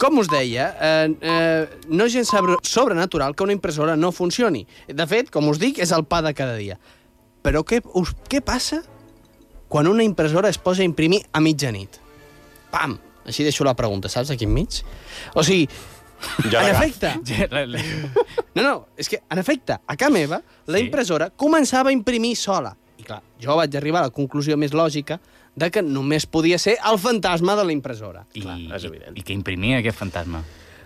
Speaker 5: com us deia, eh, eh, no és gens sabre- sobrenatural que una impressora no funcioni. De fet, com us dic, és el pa de cada dia. Però què, us, què passa quan una impressora es posa a imprimir a mitjanit? Pam! Així deixo la pregunta, saps, aquí enmig? O sigui, en efecte... No, no, és que, en efecte, a casa meva, la sí. impressora començava a imprimir sola. I clar, jo vaig arribar a la conclusió més lògica de que només podia ser el fantasma de la impressora.
Speaker 4: I, i, I que imprimia aquest fantasma.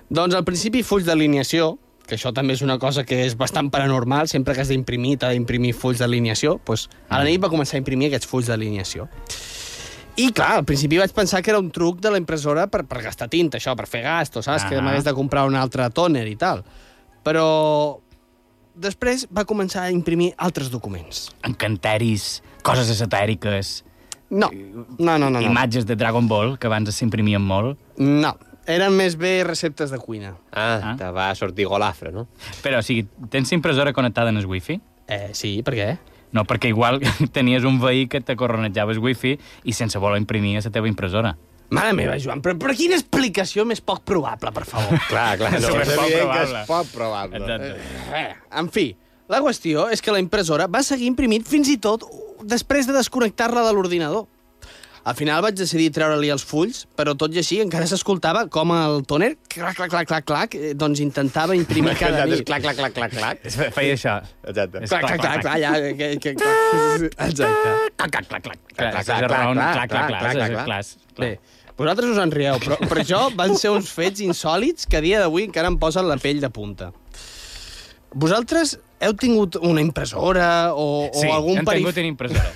Speaker 5: Doncs al principi fulls d'alineació, que això també és una cosa que és bastant paranormal, sempre que has d'imprimir, t'ha d'imprimir fulls d'alineació, doncs a la nit va començar a imprimir aquests fulls d'alineació. I clar, al principi vaig pensar que era un truc de la impressora per, per gastar tinta, això, per fer gasto, saps? Ah. Que
Speaker 4: Ah.
Speaker 5: m'hagués de comprar un altre tòner i tal. Però després va començar a imprimir altres documents.
Speaker 4: Encanteris, coses esotèriques...
Speaker 5: No, no, no, no. no.
Speaker 4: Imatges de Dragon Ball, que abans s'imprimien molt.
Speaker 5: No, eren més bé receptes de cuina.
Speaker 4: Ah, ah, te va sortir golafre, no? Però, o sigui, tens impressora connectada en el wifi?
Speaker 5: Eh, sí, per què?
Speaker 4: No, perquè igual tenies un veí que te corronejava el wifi i sense voler imprimir a la teva impressora.
Speaker 5: Mare meva, Joan, però, però quina explicació més poc probable, per favor?
Speaker 4: Clar, clar, no, és evident que és
Speaker 5: poc probable. Eh, en fi, la qüestió és que la impressora va seguir imprimint fins i tot després de desconnectar-la de l'ordinador. Al final vaig decidir treure-li els fulls, però tot i així encara s'escoltava com el toner, clac, clac, clac, clac, clac, eh, doncs intentava imprimir cada nit.
Speaker 6: Clac, clac, clac, clac, clac.
Speaker 4: Feia això.
Speaker 6: Exacte.
Speaker 5: Clac, clac, clac, clac, ja, que, que, clac. Exacte.
Speaker 4: Clac, clac, clac, clac.
Speaker 5: Clar,
Speaker 4: Clar, clar, clar, clar, clar, clar, clar, clar, clar.
Speaker 5: Bé, vosaltres us en rieu, però per això van ser uns fets insòlids que a dia d'avui encara em posen la pell de punta. Vosaltres heu tingut una impressora o,
Speaker 4: Sí,
Speaker 5: o algun
Speaker 4: hem tingut una impressora.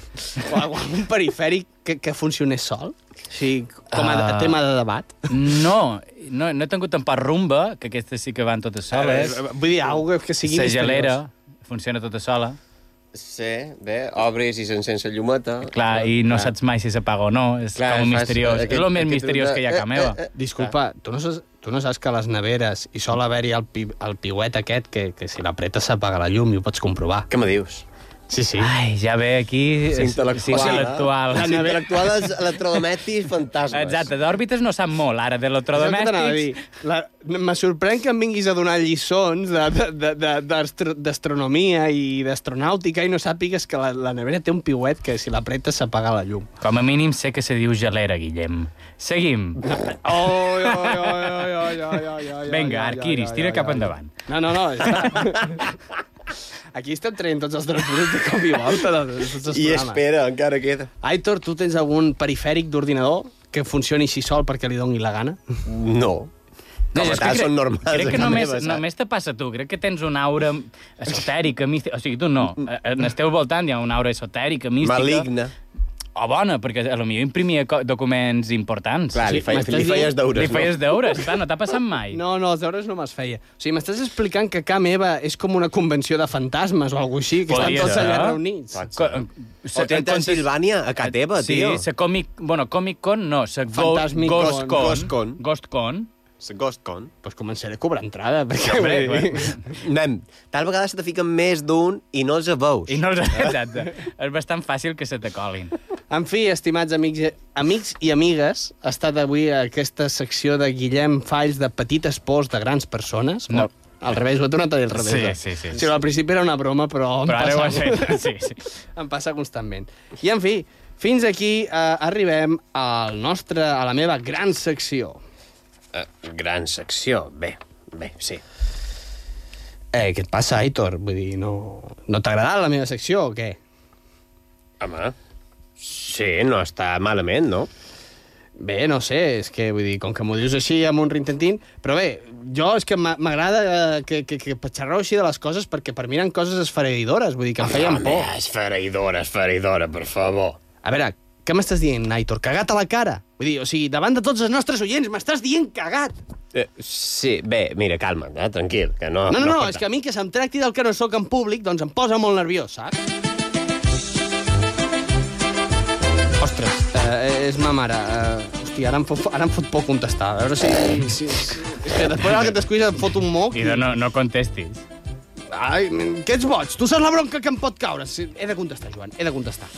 Speaker 5: o algun perifèric que, que funcionés sol? Sí, com a
Speaker 4: Ah.
Speaker 5: uh... tema de debat.
Speaker 4: No, no, no he tingut tampoc rumba, que aquestes sí que van totes soles.
Speaker 5: Eh, vull dir, algo que sigui
Speaker 4: La
Speaker 5: misteriós.
Speaker 4: gelera funciona tota sola.
Speaker 6: Sí, bé, obris i s'encens la llumeta.
Speaker 4: Clar, i no saps mai si s'apaga o no. És
Speaker 6: Clar,
Speaker 4: com
Speaker 6: fas
Speaker 4: misteriós.
Speaker 6: aquest-
Speaker 4: és el més
Speaker 6: aquest
Speaker 4: misteriós
Speaker 6: truc de-
Speaker 4: que hi ha a casa meva.
Speaker 5: eh.
Speaker 4: Ah.
Speaker 5: Disculpa, tu no, saps, tu no saps que a les neveres hi sol haver-hi el, pi, el piuet aquest que, que si l'apretes s'apaga la llum i ho pots comprovar. Ah,
Speaker 6: Què me dius?
Speaker 5: Sí, sí.
Speaker 4: Ai, ja ve aquí...
Speaker 6: Sí, intel·lectual.
Speaker 4: eh?
Speaker 6: eh?
Speaker 4: Sí, intel·lectual.
Speaker 6: La intel·lectual és electrodomèstics fantasmes.
Speaker 4: Exacte, d'òrbites no sap molt, ara, d'electrodomèstics...
Speaker 5: La, me sorprèn que em vinguis a donar lliçons de- de- de- d'astro- d'astronomia i d'astronàutica i no sàpigues que la, la nevera té un piuet que si l'apretes s'apaga la llum.
Speaker 4: Com a mínim sé que se diu gelera, Guillem. Seguim.
Speaker 5: Oi, oi, oi, oi, oi, oi, oi, oi,
Speaker 4: Vinga,
Speaker 5: oi,
Speaker 4: Arquiris,
Speaker 5: oi,
Speaker 4: tira
Speaker 5: oi,
Speaker 4: cap
Speaker 5: oi.
Speaker 4: endavant.
Speaker 5: No, no, no. està- Aquí estem traient tots els drets de cop i volta. De, de, tots els
Speaker 6: I
Speaker 5: programes.
Speaker 6: espera, encara queda.
Speaker 5: Aitor, tu tens algun perifèric d'ordinador que funcioni així sol perquè li doni la gana?
Speaker 4: No,
Speaker 6: No.
Speaker 5: Com a
Speaker 4: és
Speaker 5: tal,
Speaker 4: crec-
Speaker 5: són normals,
Speaker 4: Crec
Speaker 5: a
Speaker 4: que
Speaker 5: casa
Speaker 4: només,
Speaker 5: meva, saps?
Speaker 4: només te passa a tu. Crec que tens una aura esotèrica, mística. O sigui, tu no. En el teu voltant hi ha una aura esotèrica, mística...
Speaker 6: Maligna.
Speaker 4: O bona, perquè a lo millor imprimia co- documents importants.
Speaker 6: Clar, li feies- li feies deures,
Speaker 4: Li
Speaker 6: no?
Speaker 4: feies deures, clar, no t'ha passat mai.
Speaker 5: No, no, els deures no me'ls feia. O sigui, m'estàs explicant que Ca Meva és com una convenció de fantasmes o alguna així, que estan tots
Speaker 4: eh?
Speaker 5: allà reunits.
Speaker 4: O
Speaker 5: té en Transilvània,
Speaker 6: a casa teva,
Speaker 4: sí,
Speaker 6: tio.
Speaker 4: Sí, se Comic... Bueno, Comic Con no, se Go-
Speaker 5: Fantasmic
Speaker 4: Ghost
Speaker 5: Con.
Speaker 4: Con.
Speaker 5: Ghost
Speaker 6: Con.
Speaker 4: Ghost Con.
Speaker 6: Ghost Con.
Speaker 5: Pues començaré a cobrar entrada, perquè...
Speaker 6: Hombre,
Speaker 5: vull dir-
Speaker 6: bueno. Nen, tal vegada se te fiquen més d'un i no els veus.
Speaker 4: I no els... Exacte. és bastant fàcil que se te colin.
Speaker 5: En fi, estimats amics, i- amics i amigues, ha estat avui aquesta secció de Guillem Falls de petites pors de grans persones. No. Al revés, ho he tornat a dir al revés.
Speaker 4: Sí,
Speaker 5: eh?
Speaker 4: sí, sí.
Speaker 5: sí. Al principi era una broma, però... em
Speaker 4: Però ara ho has
Speaker 5: passa-
Speaker 4: fet, sí, sí.
Speaker 5: em passa constantment. I, en fi, fins aquí eh, arribem al nostre, a la meva gran secció.
Speaker 6: Eh, gran secció, bé, bé, sí.
Speaker 5: Eh, què et passa, Aitor? Vull dir, no, no t'ha agradat la meva secció o què?
Speaker 6: Home, sí, no està malament, no?
Speaker 5: Bé, no sé, és que, vull dir, com que m'ho dius així amb un rintintín... Però bé, jo és que m'a- m'agrada eh, que, que, que xerreu així de les coses perquè per mi eren coses esfereïdores, vull dir, que em feien por.
Speaker 6: Home, és feridora, és feridora, per favor.
Speaker 5: A veure, Què m'estàs dient, Aitor? Cagat a la cara? Vull dir, o sigui, davant de tots els nostres oients, m'estàs dient cagat.
Speaker 6: Eh, sí, bé, mira, calma, eh? tranquil, que no...
Speaker 5: No, no, no,
Speaker 6: pot-
Speaker 5: és que a mi que se'm tracti del que no sóc en públic, doncs em posa molt nerviós, saps? Ostres, eh, és ma mare. Eh, hòstia, ara em, fot, ara em fot por contestar. A veure si... si, si és que després ara que t'escuis em fot un moc.
Speaker 18: I no, no contestis.
Speaker 5: Ai, que ets boig. Tu saps la bronca que em pot caure. Sí, He de contestar, Joan, he de contestar.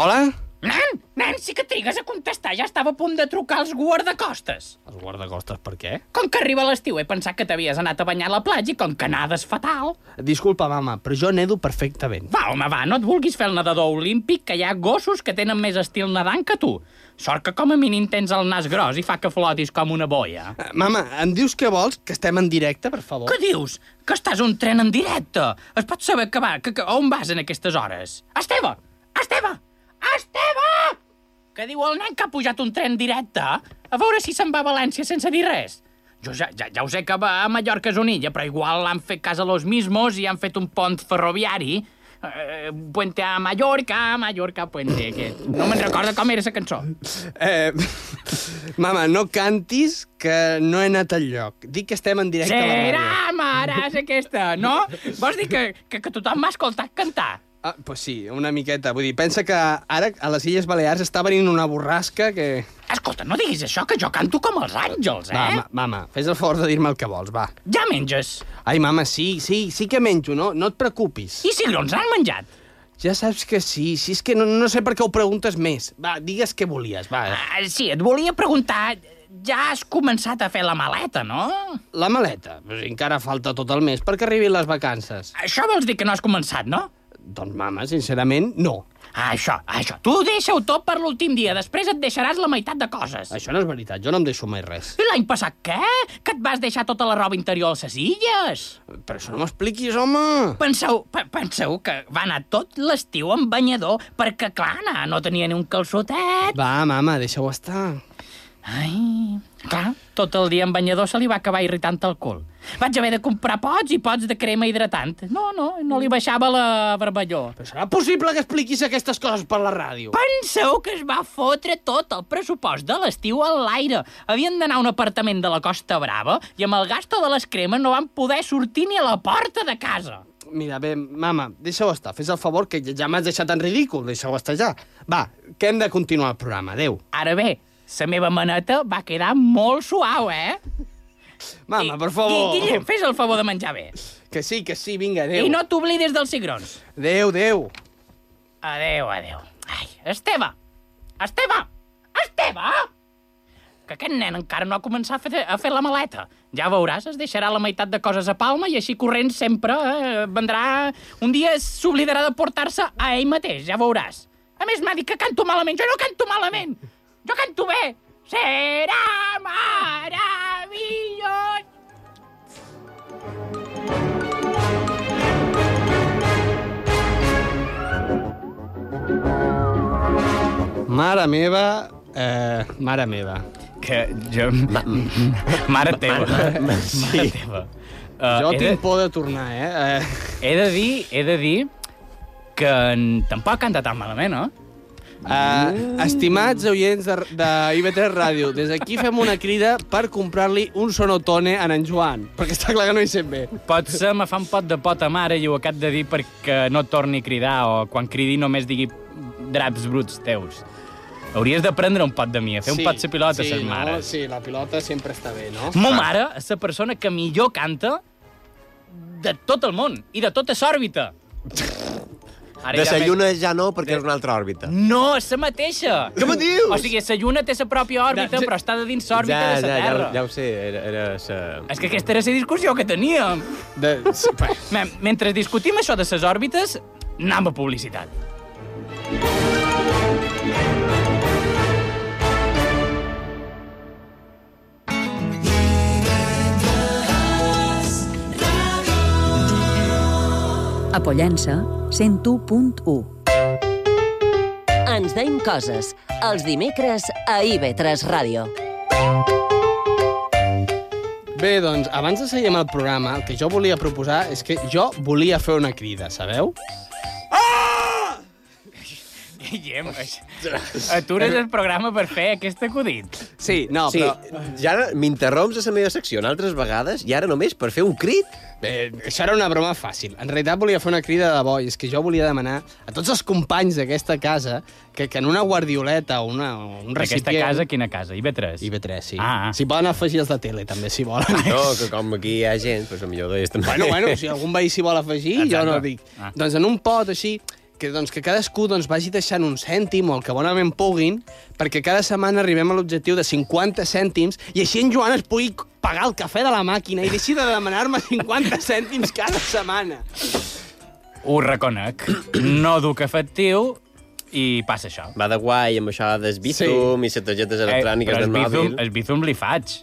Speaker 5: Hola?
Speaker 4: Nan, nan, sí que trigues a contestar. Ja estava a punt de trucar als guardacostes.
Speaker 5: Els guardacostes, per què?
Speaker 4: Com que arriba l'estiu he pensat que t'havies anat a banyar a la platja i com que nades fatal.
Speaker 5: Disculpa, mama, però jo nedo perfectament.
Speaker 4: Va, home, va, no et vulguis fer el nedador olímpic, que hi ha gossos que tenen més estil nedant que tu. Sort que com a mínim tens el nas gros i fa que flotis com una boia.
Speaker 5: Eh, Mama, em dius què vols? Que estem en directe, per favor?
Speaker 4: Què dius? Que estàs a un tren en directe. Es pot saber que va, que, que on vas en aquestes hores? Esteve! Esteve! Esteve! Que diu el nen que ha pujat un tren directe a veure si se'n va a València sense dir res. Jo ja, ja, ja ho sé que va a Mallorca és una illa, però igual han fet cas a los mismos i han fet un pont ferroviari. Eh, puente a Mallorca, Mallorca, puente aquest. No me'n recordo com era la cançó.
Speaker 5: Eh, mama, no cantis, que no he anat al lloc. Dic que estem en directe a la ràdio.
Speaker 4: Serà, mare, és aquesta, no? Vols dir que, que, que tothom m'ha escoltat cantar?
Speaker 5: Ah, pues sí, una miqueta. Vull dir, pensa que ara a les Illes Balears està venint una borrasca que...
Speaker 4: Escolta, no diguis això, que jo canto com els àngels, eh?
Speaker 5: Va, ma, mama, fes el favor de dir-me el que vols, va.
Speaker 4: Ja menges.
Speaker 5: Ai, mama, sí, sí, sí que menjo, no, no et preocupis.
Speaker 4: I cigrons, han menjat?
Speaker 5: Ja saps que sí, si és que no, no sé per què ho preguntes més. Va, digues què volies, va.
Speaker 4: Ah, sí, et volia preguntar... Ja has començat a fer la maleta, no?
Speaker 5: La maleta? Pues encara falta tot el mes perquè arribin les vacances.
Speaker 4: Això vols dir que no has començat, no?
Speaker 5: Doncs, mama, sincerament, no.
Speaker 4: Ah, això, això. Tu deixa-ho tot per l'últim dia, després et deixaràs la meitat de coses.
Speaker 5: Això no és veritat, jo no em deixo mai res.
Speaker 4: I l'any passat què? Que et vas deixar tota la roba interior a les illes?
Speaker 5: Però això no m'expliquis, home!
Speaker 4: Penseu, pe- penseu que va anar tot l'estiu en banyador perquè, clar, na, no tenia ni un calçotet.
Speaker 5: Va, mama, deixa-ho estar.
Speaker 4: Ai, clar, tot el dia en banyador se li va acabar irritant el cul. Vaig haver de comprar pots i pots de crema hidratant. No, no, no li baixava la barballó.
Speaker 5: Però serà possible que expliquis aquestes coses per la ràdio?
Speaker 4: Penseu que es va fotre tot el pressupost de l'estiu a l'aire. Havien d'anar a un apartament de la Costa Brava i amb el gasto de les cremes no van poder sortir ni a la porta de casa.
Speaker 5: Mira, bé, mama, deixa-ho estar. Fes el favor, que ja m'has deixat en ridícul. Deixa-ho estar ja. Va, que hem de continuar el programa. Adéu.
Speaker 4: Ara bé, la meva maneta va quedar molt suau, eh?
Speaker 5: Mama, per favor.
Speaker 4: Gui- Guillem, fes el favor de menjar bé.
Speaker 5: Que sí, que sí, vinga, adéu.
Speaker 4: I no t'oblidis dels cigrons.
Speaker 5: Adéu, adéu.
Speaker 4: Adéu, adéu. Ai, Esteve! Esteve! Esteve! Que aquest nen encara no ha començat a fer, a fer la maleta. Ja veuràs, es deixarà la meitat de coses a Palma i així corrent sempre eh, vendrà... Un dia s'oblidarà de portar-se a ell mateix, ja veuràs. A més, m'ha dit que canto malament. Jo no canto malament! Jo canto bé! Serà meravellós!
Speaker 5: Mare meva, eh, mare meva.
Speaker 18: Que jo... Ma... Mare teva.
Speaker 5: Ma- ma-
Speaker 18: Mare
Speaker 5: sí.
Speaker 18: teva.
Speaker 4: Ah,
Speaker 5: Uh, jo
Speaker 18: he de-
Speaker 5: tinc por de tornar, eh?
Speaker 18: He de dir, he de dir que n- tampoc canta tan malament, no?
Speaker 5: Uh, estimats oients de, de IB3 Ràdio, des d'aquí fem una crida per comprar-li un sonotone a en Joan, perquè està clar que no hi sent bé.
Speaker 18: Potser me fa un pot de pot a mare i ho acab de dir perquè no torni a cridar o quan cridi només digui draps bruts teus. Hauries de prendre un pot de mi, a fer un pot de pilota a
Speaker 5: sí,
Speaker 18: ses mares.
Speaker 5: No, sí, la pilota sempre està bé, no?
Speaker 18: Mo mare és la persona que millor canta de tot el món i de tota s'òrbita.
Speaker 6: De la lluna ja no, perquè és una altra òrbita.
Speaker 18: No, és la mateixa. Què me dius? O sigui, la lluna té la pròpia òrbita, però està de dins l'òrbita
Speaker 6: ja,
Speaker 18: de la
Speaker 6: ja, ja,
Speaker 18: Terra.
Speaker 6: ho- ja ho sé, era, era sa...
Speaker 18: És que aquesta era la discussió que teníem.
Speaker 5: De...
Speaker 18: Men Mentre discutim això de les òrbites, anem a publicitat.
Speaker 19: A Pollença, 101.1.
Speaker 11: Ens deim coses. Els dimecres a IB3 Ràdio.
Speaker 5: Bé, doncs, abans de seguir amb el programa, el que jo volia proposar és que jo volia fer una crida, sabeu?
Speaker 4: Guillem, atures el programa per fer aquest acudit.
Speaker 5: Sí, no,
Speaker 6: sí,
Speaker 5: però-
Speaker 6: Ja ara m'interromps a la meva secció en altres vegades i ara només per fer un crit?
Speaker 5: Eh, això era una broma fàcil. En realitat volia fer una crida de debò i és que jo volia demanar a tots els companys d'aquesta casa que, que en una guardioleta o una, o un recipient...
Speaker 4: Aquesta casa, quina casa? IB3?
Speaker 5: IB3, sí.
Speaker 4: Ah,
Speaker 5: Si poden afegir els de tele, també, si volen.
Speaker 6: No, que com aquí hi ha gent, doncs millor d'ells també.
Speaker 5: Bueno, bueno, si algun veí s'hi vol afegir, Exacte. jo no
Speaker 6: Exacte.
Speaker 5: ho dic.
Speaker 6: Ah.
Speaker 5: Ah. Doncs en un pot així, que, doncs, que cadascú doncs, vagi deixant un cèntim o el que bonament puguin, perquè cada setmana arribem a l'objectiu de 50 cèntims i així en Joan es pugui pagar el cafè de la màquina i deixi de demanar-me 50 cèntims cada setmana.
Speaker 4: Ho reconec. No duc efectiu i passa això.
Speaker 6: Va de guai amb això del Bizum sí. i les targetes electròniques
Speaker 4: Eh, però
Speaker 6: del
Speaker 4: el Bizum,
Speaker 6: mòbil.
Speaker 4: el Bizum li faig.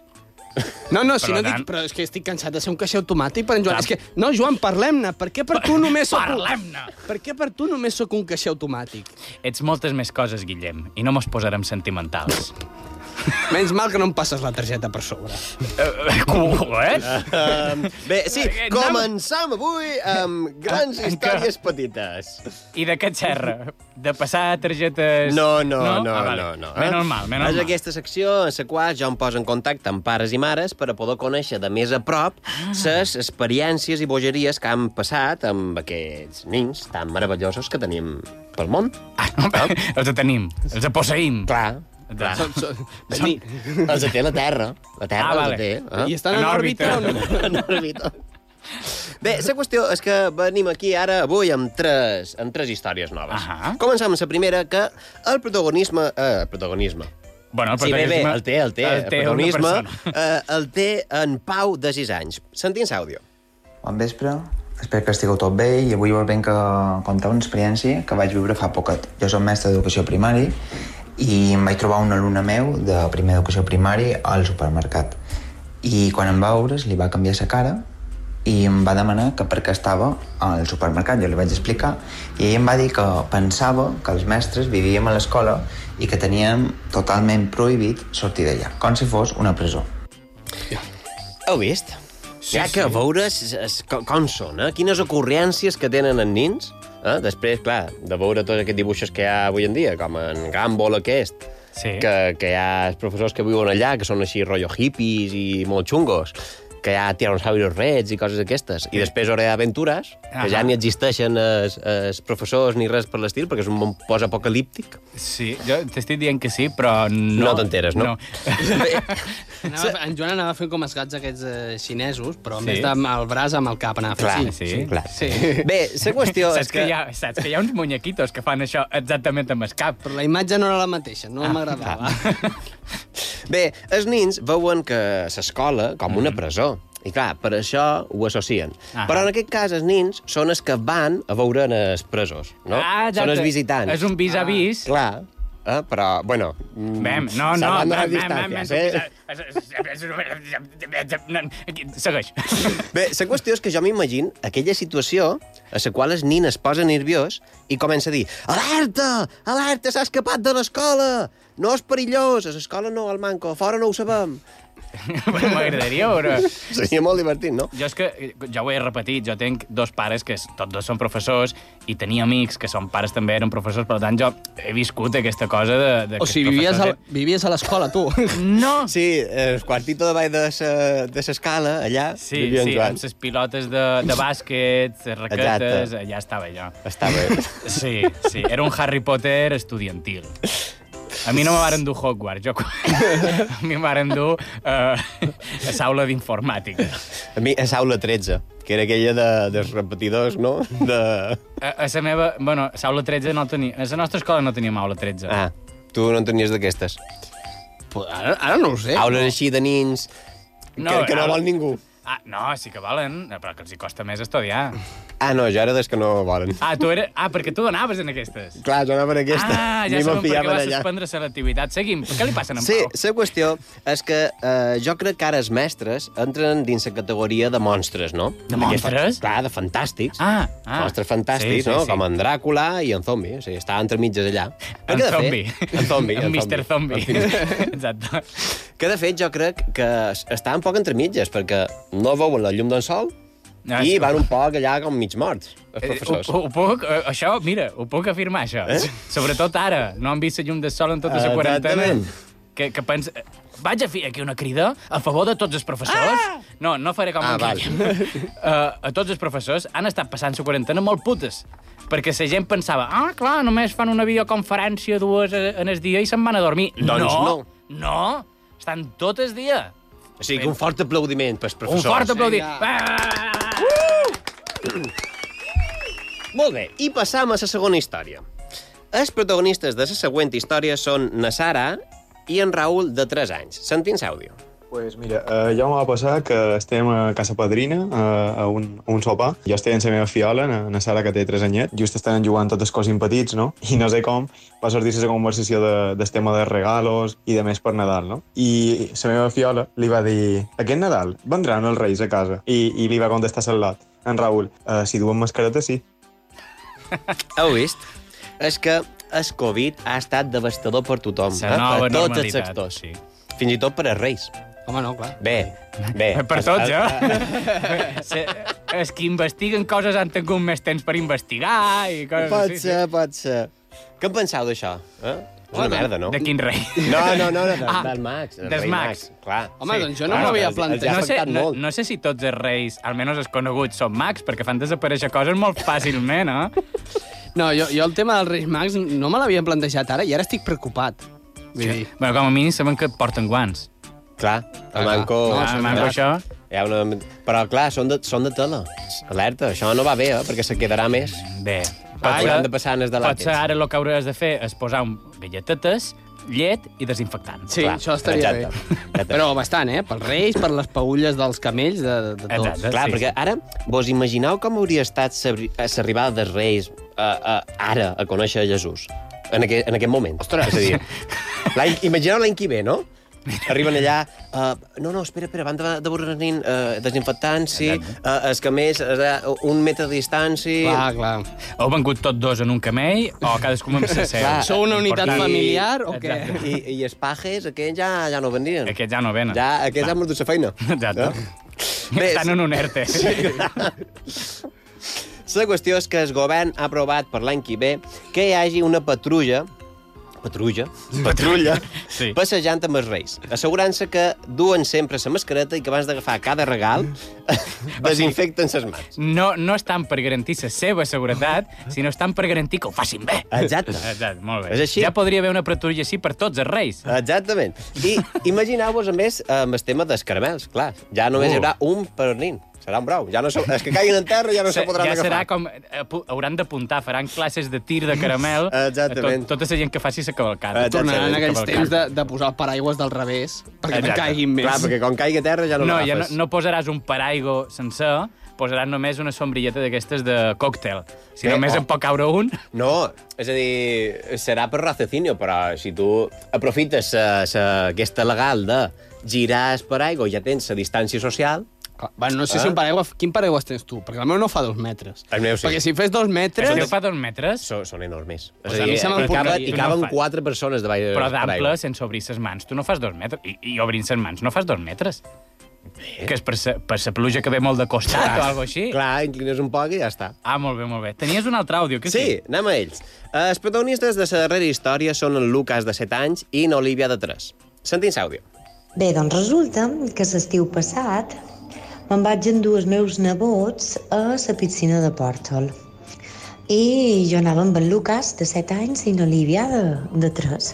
Speaker 5: No, no, si
Speaker 4: Per
Speaker 5: no
Speaker 4: tant-
Speaker 5: dic, però és que estic cansat de ser un caixer automàtic per en Joan. És que, no, Joan, parlem-ne. Per què per tu només sóc...
Speaker 4: Parlem-ne!
Speaker 5: Per què per tu només sóc un caixer automàtic?
Speaker 4: Ets moltes més coses, Guillem, i no mos posarem sentimentals.
Speaker 5: Menys mal que no em passes la targeta per sobre.
Speaker 4: Eh, Coet?
Speaker 6: Um, bé, sí,
Speaker 5: Eh,
Speaker 6: començam avui amb grans
Speaker 4: En- en què?
Speaker 6: històries petites.
Speaker 4: I de què xerra? De passar targetes...
Speaker 6: No, no, no, no,
Speaker 4: Ah,
Speaker 6: ah,
Speaker 4: vale.
Speaker 6: no, no. eh?
Speaker 4: Menys mal, menys
Speaker 6: És
Speaker 4: mal.
Speaker 6: aquesta secció en la qual jo em poso en contacte amb pares i mares per a poder conèixer de més a prop
Speaker 4: Ah.
Speaker 6: les experiències i bogeries que han passat amb aquests nins tan meravellosos que tenim pel món.
Speaker 4: Ah, Els tenim, els posseïm.
Speaker 6: Clar, clar.
Speaker 4: Són-
Speaker 6: Són- Els té la Terra. La Terra
Speaker 4: Ah,
Speaker 6: els
Speaker 4: vale.
Speaker 6: té. eh?
Speaker 4: I estan En en òrbita. òrbita o
Speaker 6: En òrbita. Bé, la qüestió és que venim aquí ara avui amb tres, amb tres històries noves.
Speaker 4: Ahà.
Speaker 6: Començam amb la primera, que el protagonisme... Eh, el protagonisme.
Speaker 4: Bueno, el
Speaker 6: Sí, bé,
Speaker 4: protagonisme-
Speaker 6: bé, el té, el té.
Speaker 4: el té una
Speaker 6: protagonisme eh, el té en Pau, de 6 anys. Sentim l'àudio.
Speaker 20: Bon vespre, espero que estigueu tot bé i avui vos venc a contar una experiència que vaig viure fa poquet. Jo soc mestre d'educació primària i em vaig trobar un alumne meu de primer d'educació primària al supermercat. I quan em va veure's li va canviar la cara i em va demanar que per què estava al supermercat. Jo li vaig explicar i ell em va dir que pensava que els mestres vivíem a l'escola i que teníem totalment prohibit sortir d'allà, com si fos una presó.
Speaker 6: Heu vist? Sí, ja que sí. veures es, com, com són, eh? quines ocurrències que tenen en nins. Eh? Després, clar, de veure tots aquests dibuixos que hi ha avui en dia, com en Gumball aquest,
Speaker 4: sí.
Speaker 6: que, que hi ha els professors que viuen allà, que són així rotllo hippies i molt xungos, que hi ha tiranosaurios reds i coses d'aquestes. I després Hora d'Aventures, que ja
Speaker 4: Ahà.
Speaker 6: ni existeixen els, els professors ni res per l'estil, perquè és un món post-apocalíptic.
Speaker 4: Sí, jo t'estic dient que sí, però no...
Speaker 6: No t'enteres, no? Eh,
Speaker 5: Anava, en Joan anava fent com els gats aquests eh, xinesos, però en
Speaker 6: Sí.
Speaker 5: sí. vez amb el braç, amb el cap anava fent
Speaker 6: Clar, sí, clar.
Speaker 5: Sí.
Speaker 6: Bé, la qüestió
Speaker 4: saps
Speaker 6: és que...
Speaker 4: Hi ha, saps que hi ha uns muñequitos que fan això exactament amb el cap.
Speaker 5: Però la imatge no era la mateixa, no m'agradava.
Speaker 6: Bé, els nins veuen que s'escola com una presó. I clar, per això ho associen.
Speaker 4: Mm. Ahà.
Speaker 6: Però en aquest cas, els nins són els que van a veure en els presos, no?
Speaker 4: Ah, exacte.
Speaker 6: són els visitants.
Speaker 4: És un vis-a-vis.
Speaker 6: Ah. Clar. Eh? Però, bueno... mm,
Speaker 4: Mem, no, no,
Speaker 6: salvant les
Speaker 4: mem,
Speaker 6: distàncies, eh?
Speaker 4: mem, mem, Segueix.
Speaker 6: Bé, la qüestió és que jo m'imagino aquella situació a la qual el nin es posa nerviós i comença a dir «Alerta! Alerta! S'ha escapat de l'escola! No és perillós! A l'escola no, al manco! Fora no ho sabem!»
Speaker 4: M'agradaria veure...
Speaker 6: Seria molt divertit, no?
Speaker 4: Jo és que, eh, ja ho he repetit, jo tenc dos pares que s- tots dos són professors i tenia amics que són pares també eren professors, per tant jo he viscut aquesta cosa de... de
Speaker 5: O
Speaker 4: que
Speaker 5: sigui,
Speaker 4: els
Speaker 5: vivies,
Speaker 4: professors
Speaker 5: al, vivies a l'escola, tu.
Speaker 4: No!
Speaker 6: Sí, el quartito de baix de sa- de l'escala, allà,
Speaker 4: Sí,
Speaker 6: vivia en
Speaker 4: sí,
Speaker 6: Joan.
Speaker 4: amb les pilotes de, de bàsquet, les raquetes,
Speaker 6: Exacte.
Speaker 4: allà estava jo.
Speaker 6: Estava...
Speaker 4: Sí, sí, era un Harry Potter estudiantil. A mi no me varen dur Hogwarts, jo... a mi me varen dur eh, a l'aula d'informàtica.
Speaker 6: A mi, a l'aula 13, que era aquella de, dels repetidors, no? De...
Speaker 4: A, a la meva... Bueno, a l'aula 13 no tenia... A la nostra escola no teníem aula 13.
Speaker 6: Ah, tu no en tenies d'aquestes.
Speaker 5: Ara, ara Eh? no ho sé.
Speaker 21: Ah,
Speaker 6: Aules així de nins no, que, que no
Speaker 4: aula-
Speaker 6: vol ningú.
Speaker 4: Ah, no, sí que volen, eh, però que els hi costa més estudiar.
Speaker 6: Ah, no, jo era dels que no volen.
Speaker 4: Ah, tu era... ah perquè tu anaves en aquestes.
Speaker 6: Clar, jo anava en aquesta.
Speaker 4: Ah, ja
Speaker 6: Ni me'n
Speaker 4: sabem per què
Speaker 6: fiava
Speaker 4: va
Speaker 6: d'allà.
Speaker 4: suspendre selectivitat. Seguim. Què li passa a en
Speaker 6: Sí,
Speaker 4: Pau?
Speaker 6: la qüestió és que eh, jo crec que ara els mestres entren dins la categoria de monstres, no? De
Speaker 4: monstres?
Speaker 6: Clar, de fantàstics.
Speaker 4: Ah, ah.
Speaker 6: Monstres fantàstics,
Speaker 4: Sí, sí,
Speaker 6: no?
Speaker 4: sí.
Speaker 6: Com en Dràcula i en Zombi. O sigui, està entre mitges allà.
Speaker 4: En
Speaker 6: Perquè, de
Speaker 4: Zombi.
Speaker 6: fet- En Zombi.
Speaker 4: En Mr. Zombi.
Speaker 6: En fi-
Speaker 4: Exacte.
Speaker 6: Que, de fet, jo crec que es- està un poc entre mitges, perquè no veuen la llum del sol,
Speaker 4: Ah,
Speaker 6: I
Speaker 4: sí.
Speaker 6: van un poc allà com mig morts, els
Speaker 4: Eh,
Speaker 6: professors.
Speaker 4: Ho, ho puc, eh, això, mira, ho puc afirmar, això. Eh? Sobretot ara, no han vist la llum de sol en tota la quarantena.
Speaker 6: Exactament.
Speaker 4: Que, que pensa... Vaig a fer aquí una crida a favor de tots els professors. Ah! No, no faré com
Speaker 6: Ah,
Speaker 4: ah,
Speaker 6: val.
Speaker 4: uh, a tots els professors han estat passant la quarantena molt putes. Perquè la gent pensava, ah, clar, només fan una videoconferència dues eh, en el dia i se'n van a dormir.
Speaker 6: Doncs no.
Speaker 4: No, estan tot el dia.
Speaker 6: O sigui, que un fort aplaudiment pels
Speaker 4: oh. Un
Speaker 6: professors.
Speaker 4: fort aplaudiment. Ah.
Speaker 6: Molt bé, i passam a la segona història. Els protagonistes de la següent història són na Sara i en Raül, de 3 anys. Sentint àudio.
Speaker 21: Pues mira, eh, ja m'ho va passar que estem a Casa Padrina, eh, a, un, a un sopar. Jo estic amb la meva fiola, na, na Sara, que té 3 anyets. Just estan jugant tots els cosins petits, no? I no sé com va sortir la conversació de, del tema de regalos i de més per Nadal, no? I la meva fiola li va dir aquest Nadal vendran els reis a casa. I, i li va contestar Sallat, en Raül, eh, si duen mascareta, sí.
Speaker 6: Heu vist? És que el Covid ha estat devastador per tothom. eh?
Speaker 4: La nova
Speaker 6: per tots els
Speaker 4: normalitat,
Speaker 6: sectors. Sí. Fins i tot per als reis.
Speaker 5: Home, no, clar.
Speaker 6: Bé, bé.
Speaker 4: Per tots, eh? Se- Els que investiguen coses han tingut més temps per investigar i coses
Speaker 6: Pot
Speaker 4: així.
Speaker 6: ser, pot ser. Què en penseu d'això? Eh? És una
Speaker 4: Bueno,
Speaker 6: merda, no?
Speaker 4: de quin rei?
Speaker 6: No, no, no, no del,
Speaker 4: Ah,
Speaker 6: del Max. del
Speaker 4: dels
Speaker 6: rei
Speaker 4: Max.
Speaker 6: Clar.
Speaker 5: doncs
Speaker 4: Bueno,
Speaker 6: els- Els,
Speaker 4: No
Speaker 6: els,
Speaker 4: sé,
Speaker 6: els
Speaker 4: no,
Speaker 6: molt.
Speaker 4: no sé si tots els reis, almenys els coneguts, són mags, perquè fan desaparèixer coses molt fàcilment, eh?
Speaker 5: No, jo, jo el tema dels Reis Mags no me l'havia plantejat ara i ara estic preocupat. Vull dir,
Speaker 4: Bueno, com a mínim saben que porten guants.
Speaker 6: Clar, el manco...
Speaker 4: No,
Speaker 6: Ah,
Speaker 4: el manco això.
Speaker 6: Hi ha una... Però, clar, són de, són de tela. Alerta, això no va bé, eh? perquè se quedarà més.
Speaker 4: Bé.
Speaker 6: Però hauran de passar en els de
Speaker 4: Potser
Speaker 6: làtex.
Speaker 4: ara el que hauràs de fer és posar un galletetes, llet i desinfectant.
Speaker 5: Sí, Clar, això estaria bé. Però bastant, eh? Pels reis, per les paulles dels camells, de, de, de tots.
Speaker 4: Eh,
Speaker 6: Clar, perquè ara, vos imagineu com hauria estat l'arribada dels Reis a, a, ara a conèixer Jesús? En aquest, en aquest moment. Ostres! És a dir, l'any- imagineu l'any que ve, no? Arriben allà... Uh, no, no, espera, espera, abans de, de veure nen uh, desinfectant-s'hi, uh, els camers uh, un metre de distància...
Speaker 5: clar.
Speaker 4: Heu vengut tots dos en un camell o cadascú amb la seva?
Speaker 6: Clar, i-
Speaker 4: Exacte.
Speaker 6: I, i els pajes, aquests ja, ja no vendrien.
Speaker 4: Aquests ja no venen.
Speaker 6: Ja, aquests han perdut la feina.
Speaker 4: Exacte.
Speaker 6: Eh? Bé,
Speaker 4: Estan en un ERTE.
Speaker 6: La qüestió és que el govern ha aprovat per l'any que ve que hi hagi una patrulla patrulla, patrulla,
Speaker 4: sí.
Speaker 6: passejant amb els reis, assegurant-se que duen sempre la mascareta i que abans d'agafar cada regal desinfecten ses mans.
Speaker 4: No, no estan per garantir la seva seguretat, sinó estan per garantir que ho facin bé.
Speaker 6: Exacte.
Speaker 4: Exacte, molt bé.
Speaker 6: És així.
Speaker 4: Ja podria haver una patrulla així per tots els reis.
Speaker 6: Exactament. I imagineu-vos, a més, amb el tema dels caramels, clar. Ja
Speaker 4: Uh.
Speaker 6: només hi haurà un per nin. Serà un brau. Ja no se... Els que caiguin en terra ja no se podran
Speaker 4: ja
Speaker 6: agafar.
Speaker 4: serà com... eh, pu- Hauran d'apuntar, faran classes de tir de caramel
Speaker 6: Exactament.
Speaker 4: a tot, tota la gent que faci la cavalcada.
Speaker 5: Tornaran en aquells
Speaker 4: Cavalcada.
Speaker 5: temps de, de posar el paraigües del revés, perquè no
Speaker 4: Exacte.
Speaker 5: caiguin més.
Speaker 4: Clar, perquè
Speaker 6: quan caigui a terra
Speaker 4: no, ja no, no posaràs un paraigo sencer, posaràs només una sombrilleta d'aquestes de còctel. Si
Speaker 6: Bé,
Speaker 4: només
Speaker 6: o-
Speaker 4: en pot caure un...
Speaker 6: No, és a dir, serà per raciocinio, però si tu aprofites sa, sa, aquesta legal de girar el paraigua, ja tens la distància social...
Speaker 5: Bueno, no sé
Speaker 4: Ah.
Speaker 5: si un paraigües... Quin paraigües tens tu? Perquè el meu no fa dos metres.
Speaker 6: El meu sí.
Speaker 5: Perquè si fes dos metres...
Speaker 4: El teu fa dos metres?
Speaker 6: Són, són enormes.
Speaker 5: Pues a mi se m'han
Speaker 6: hi caben,
Speaker 5: portat-
Speaker 6: hi
Speaker 5: no
Speaker 6: caben
Speaker 5: fa.
Speaker 6: quatre persones de baix
Speaker 4: Però d'ample, sense obrir ses mans. Tu no fas dos metres. I, i obrint ses mans no fas dos metres. Bé. Que és per sa, per sa pluja que ve molt de costat o alguna així.
Speaker 6: Clar, inclines un poc i ja està.
Speaker 4: Ah, molt bé, molt bé. Tenies un altre àudio, que
Speaker 6: sí? Sí, anem a ells. Eh, Els protagonistes de la darrera història són en Lucas, de 7 anys, i na Olivia, de 3. Sentint àudio.
Speaker 22: Bé, doncs resulta que l'estiu passat me'n vaig endur els meus nebots a la piscina de Pòrtol. I jo anava amb en Lucas, de 7 anys, i n'Olivia, de, de 3.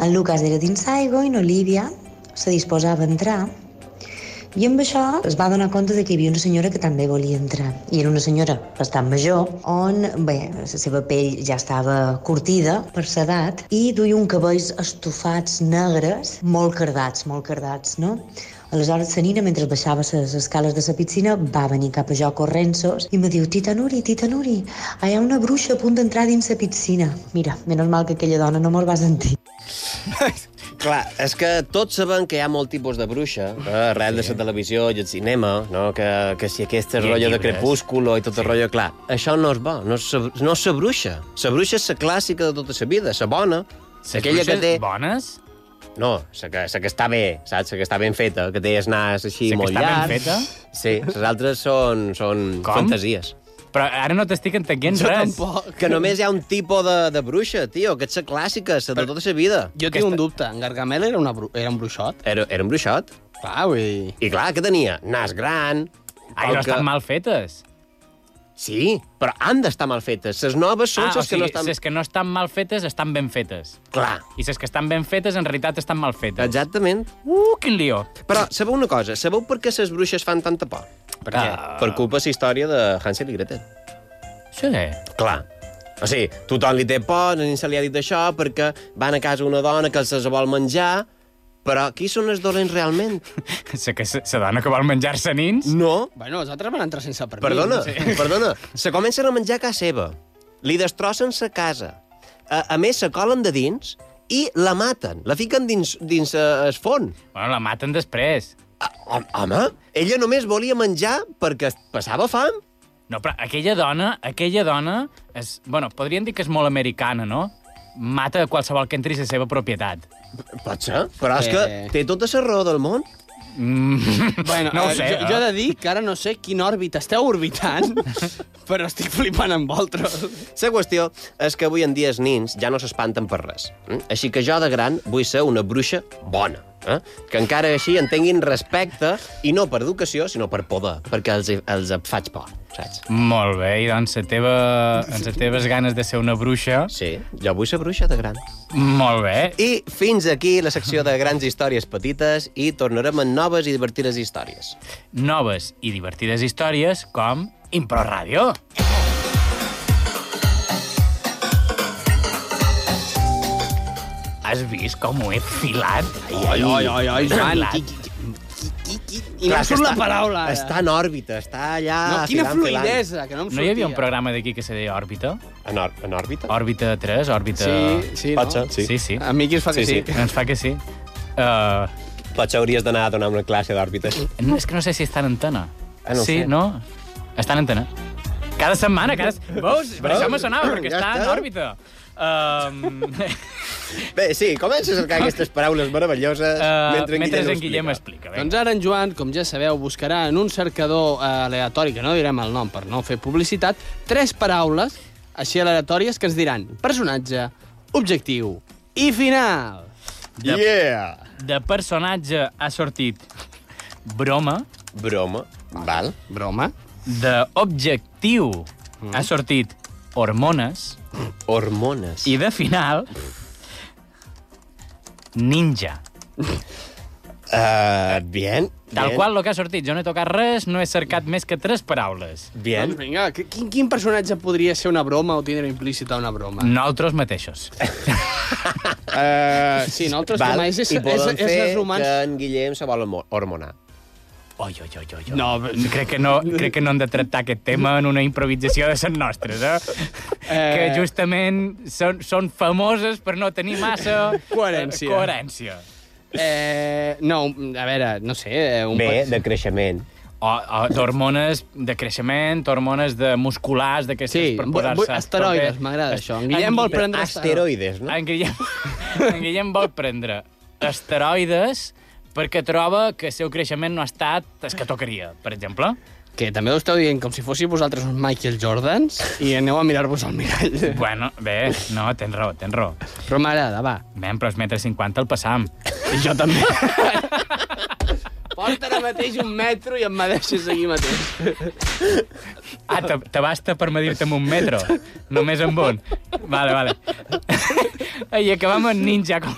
Speaker 22: En Lucas era dins l'aigua i n'Olivia se disposava a entrar. I amb això es va donar compte de que hi havia una senyora que també volia entrar. I era una senyora bastant major, on bé, la seva pell ja estava curtida per l'edat i duia un cabells estofats negres, molt cardats, molt cardats, no? Aleshores, la nina, mentre baixava les escales de la piscina, va venir cap a jo corrent-sos i me diu, Tita Nuri, Tita Nuri, hi ha una bruixa a punt d'entrar dins la piscina. Mira, menys mal que aquella dona no me'l va sentir.
Speaker 6: Clar, és que tots sabem que hi ha molt tipus de bruixa, eh, arrel sí. de la televisió i el cinema, no? que, que si aquesta és
Speaker 4: I
Speaker 6: rotllo de
Speaker 4: llibres.
Speaker 6: crepúsculo i tot el rotllo, clar, això no és bo, no és, sa- no és sa bruixa. Sa bruixa és la clàssica de tota sa vida, sa bona,
Speaker 4: Ses
Speaker 6: aquella que
Speaker 4: bruixes
Speaker 6: té...
Speaker 4: bones?
Speaker 6: No, la que, la que està bé, saps? La que està ben feta, que té els nas així
Speaker 4: La que
Speaker 6: molt
Speaker 4: està ben
Speaker 6: llarg.
Speaker 4: feta?
Speaker 6: Sí, les altres són, són
Speaker 4: Com?
Speaker 6: fantasies.
Speaker 4: Però ara no t'estic entenent
Speaker 6: Jo
Speaker 4: res.
Speaker 6: tampoc. Que només hi ha un tipus de, de bruixa, tio, que és la clàssica, la de tota la vida.
Speaker 5: Jo tinc un dubte. En Gargamel era, una bru... era un bruixot?
Speaker 6: Era, era un bruixot.
Speaker 5: Clar, vull dir...
Speaker 6: I clar, què tenia? Nas gran...
Speaker 4: Ai, no estan mal fetes.
Speaker 6: Sí, però han d'estar mal fetes. Les noves
Speaker 4: Ah,
Speaker 6: són les
Speaker 4: o
Speaker 6: que
Speaker 4: sigui,
Speaker 6: no estan...
Speaker 4: les que no estan mal fetes estan ben fetes.
Speaker 6: Clar.
Speaker 4: I les que estan ben fetes en realitat estan mal fetes.
Speaker 6: Exactament.
Speaker 4: Uh, quin lío.
Speaker 6: Però sabeu una cosa? Sabeu per què les bruixes fan tanta por? Per què? Per culpa de la història de Hansel i Gretel.
Speaker 4: Sí.
Speaker 6: Clar. O sigui, tothom li té por, a ningú se li ha dit això, perquè van a casa una dona que se'ls vol menjar, però qui són els dolents realment?
Speaker 4: La que se, se dona que vol menjar-se nins?
Speaker 5: Mm.
Speaker 6: No.
Speaker 5: Bueno, els altres van entrar sense permís.
Speaker 6: Perdona,
Speaker 5: Sí.
Speaker 6: perdona. Se comencen a menjar a casa seva. Li destrossen sa casa. A, a més, se colen de dins i la maten. La fiquen dins, dins eh, es fon.
Speaker 4: Bueno, la maten després.
Speaker 6: Ah, Hom, home, ella només volia menjar perquè passava fam.
Speaker 4: No, però aquella dona, aquella dona, és, bueno, podríem dir que és molt americana, no? Mata qualsevol que entri a la seva propietat.
Speaker 6: Pot ser, però és que té tota la raó del món.
Speaker 4: Mm.
Speaker 5: Bueno,
Speaker 4: no ho
Speaker 5: eh,
Speaker 4: sé. ah.
Speaker 5: Jo, jo he de dir que ara no sé quina òrbita esteu orbitant, però estic flipant amb vosaltres.
Speaker 6: La qüestió és que avui en dia els nins ja no s'espanten per res. Mm? Així que jo, de gran, vull ser una bruixa bona. Eh? Que encara així en tinguin respecte, i no per educació, sinó per poder, perquè els, els faig por, saps?
Speaker 4: Molt bé, i doncs la teva, amb les teves ganes de ser una bruixa...
Speaker 6: Sí, jo vull ser bruixa de gran.
Speaker 4: Molt bé.
Speaker 6: I fins aquí la secció de grans històries petites i tornarem amb noves i divertides històries.
Speaker 4: Noves i divertides històries com Impro Ràdio. Has vist com ho he filat?
Speaker 5: Ai, ai, ai, ai, Joan,
Speaker 4: Filat.
Speaker 5: qui- I no em surt la paraula, ara.
Speaker 6: Està en òrbita, està allà...
Speaker 5: No, quina
Speaker 6: filant, filant.
Speaker 5: fluidesa, que no em
Speaker 4: No hi havia un
Speaker 5: sortia.
Speaker 4: programa d'aquí que se deia Òrbita?
Speaker 6: En, or en òrbita?
Speaker 4: Òrbita 3, Òrbita...
Speaker 5: Sí, sí, no? Pot ser, sí.
Speaker 4: Sí, sí.
Speaker 5: A mi qui es fa que sí.
Speaker 4: Ens fa que sí. Uh...
Speaker 6: Potser hauries d'anar a donar una classe d'òrbites.
Speaker 4: No, és que no sé si està en antena.
Speaker 6: Ah, no ho
Speaker 4: sí,
Speaker 6: sé.
Speaker 4: no? Està en antena. Cada setmana, cada... Veus? Per això me sonava, perquè
Speaker 6: Ja
Speaker 4: està en
Speaker 6: està.
Speaker 4: òrbita. Um...
Speaker 6: Bé, sí, comença a cercar aquestes paraules meravelloses
Speaker 4: Eh,
Speaker 6: mentre en
Speaker 4: mentre
Speaker 6: Guillem,
Speaker 4: en Guillem
Speaker 6: ho
Speaker 4: explica.
Speaker 5: Doncs ara en Joan, com ja sabeu, buscarà en un cercador eh, aleatori, que no direm el nom per no fer publicitat, tres paraules així aleatòries que ens diran personatge, objectiu i final.
Speaker 4: De, yeah! Doncs, De personatge ha sortit broma.
Speaker 6: Broma, val.
Speaker 5: Broma.
Speaker 4: D'objectiu mm. ha sortit hormones.
Speaker 6: Hormones.
Speaker 4: I de final, ninja.
Speaker 6: Uh, bien.
Speaker 4: Tal
Speaker 5: Bien.
Speaker 4: qual el que ha sortit. Jo no he tocat res, no he cercat més que tres paraules.
Speaker 5: Doncs vinga, qui- quin, quin personatge podria ser una broma o tindre implícita una broma?
Speaker 6: Mm.
Speaker 4: Nosaltres mateixos.
Speaker 5: Uh, sí, nosaltres
Speaker 6: Val,
Speaker 5: com és, és,
Speaker 6: i
Speaker 5: és,
Speaker 6: poden
Speaker 5: és,
Speaker 6: fer
Speaker 5: és humans...
Speaker 6: que en Guillem se vol hormo- hormonar.
Speaker 4: Oi, oi, oi, oi. No, crec que no, crec que no hem de tractar aquest tema en una improvisació de les nostres, eh? eh... Que justament són, són famoses per no tenir massa...
Speaker 5: Coherència.
Speaker 4: Coherència.
Speaker 5: Eh, no, a veure, no sé... eh, Un
Speaker 6: Bé,
Speaker 5: pe-
Speaker 6: de creixement.
Speaker 4: O, o d'hormones de creixement, hormones de musculars, d'aquestes
Speaker 5: Sí,
Speaker 4: per
Speaker 5: vull-
Speaker 4: posar-se...
Speaker 5: vull- asteroides, m'agrada això. En Guillem vol prendre asteroides.
Speaker 4: no? En Guillem, en Guillem vol prendre asteroides perquè troba que el seu creixement no ha estat el que tocaria, per exemple.
Speaker 5: Que també ho esteu dient com si fóssiu vosaltres uns Michael Jordans i aneu a mirar-vos al mirall.
Speaker 4: Bueno, bé, no, tens raó, tens raó.
Speaker 5: Però m'agrada, va.
Speaker 4: Men, però els metre 50 el passam.
Speaker 5: I jo també. Porta ara mateix un metro i em medeixes aquí mateix.
Speaker 4: Ah, te, te basta per medir-te amb un metro. Només amb un. Vale, vale. I acabam en ninja. Com...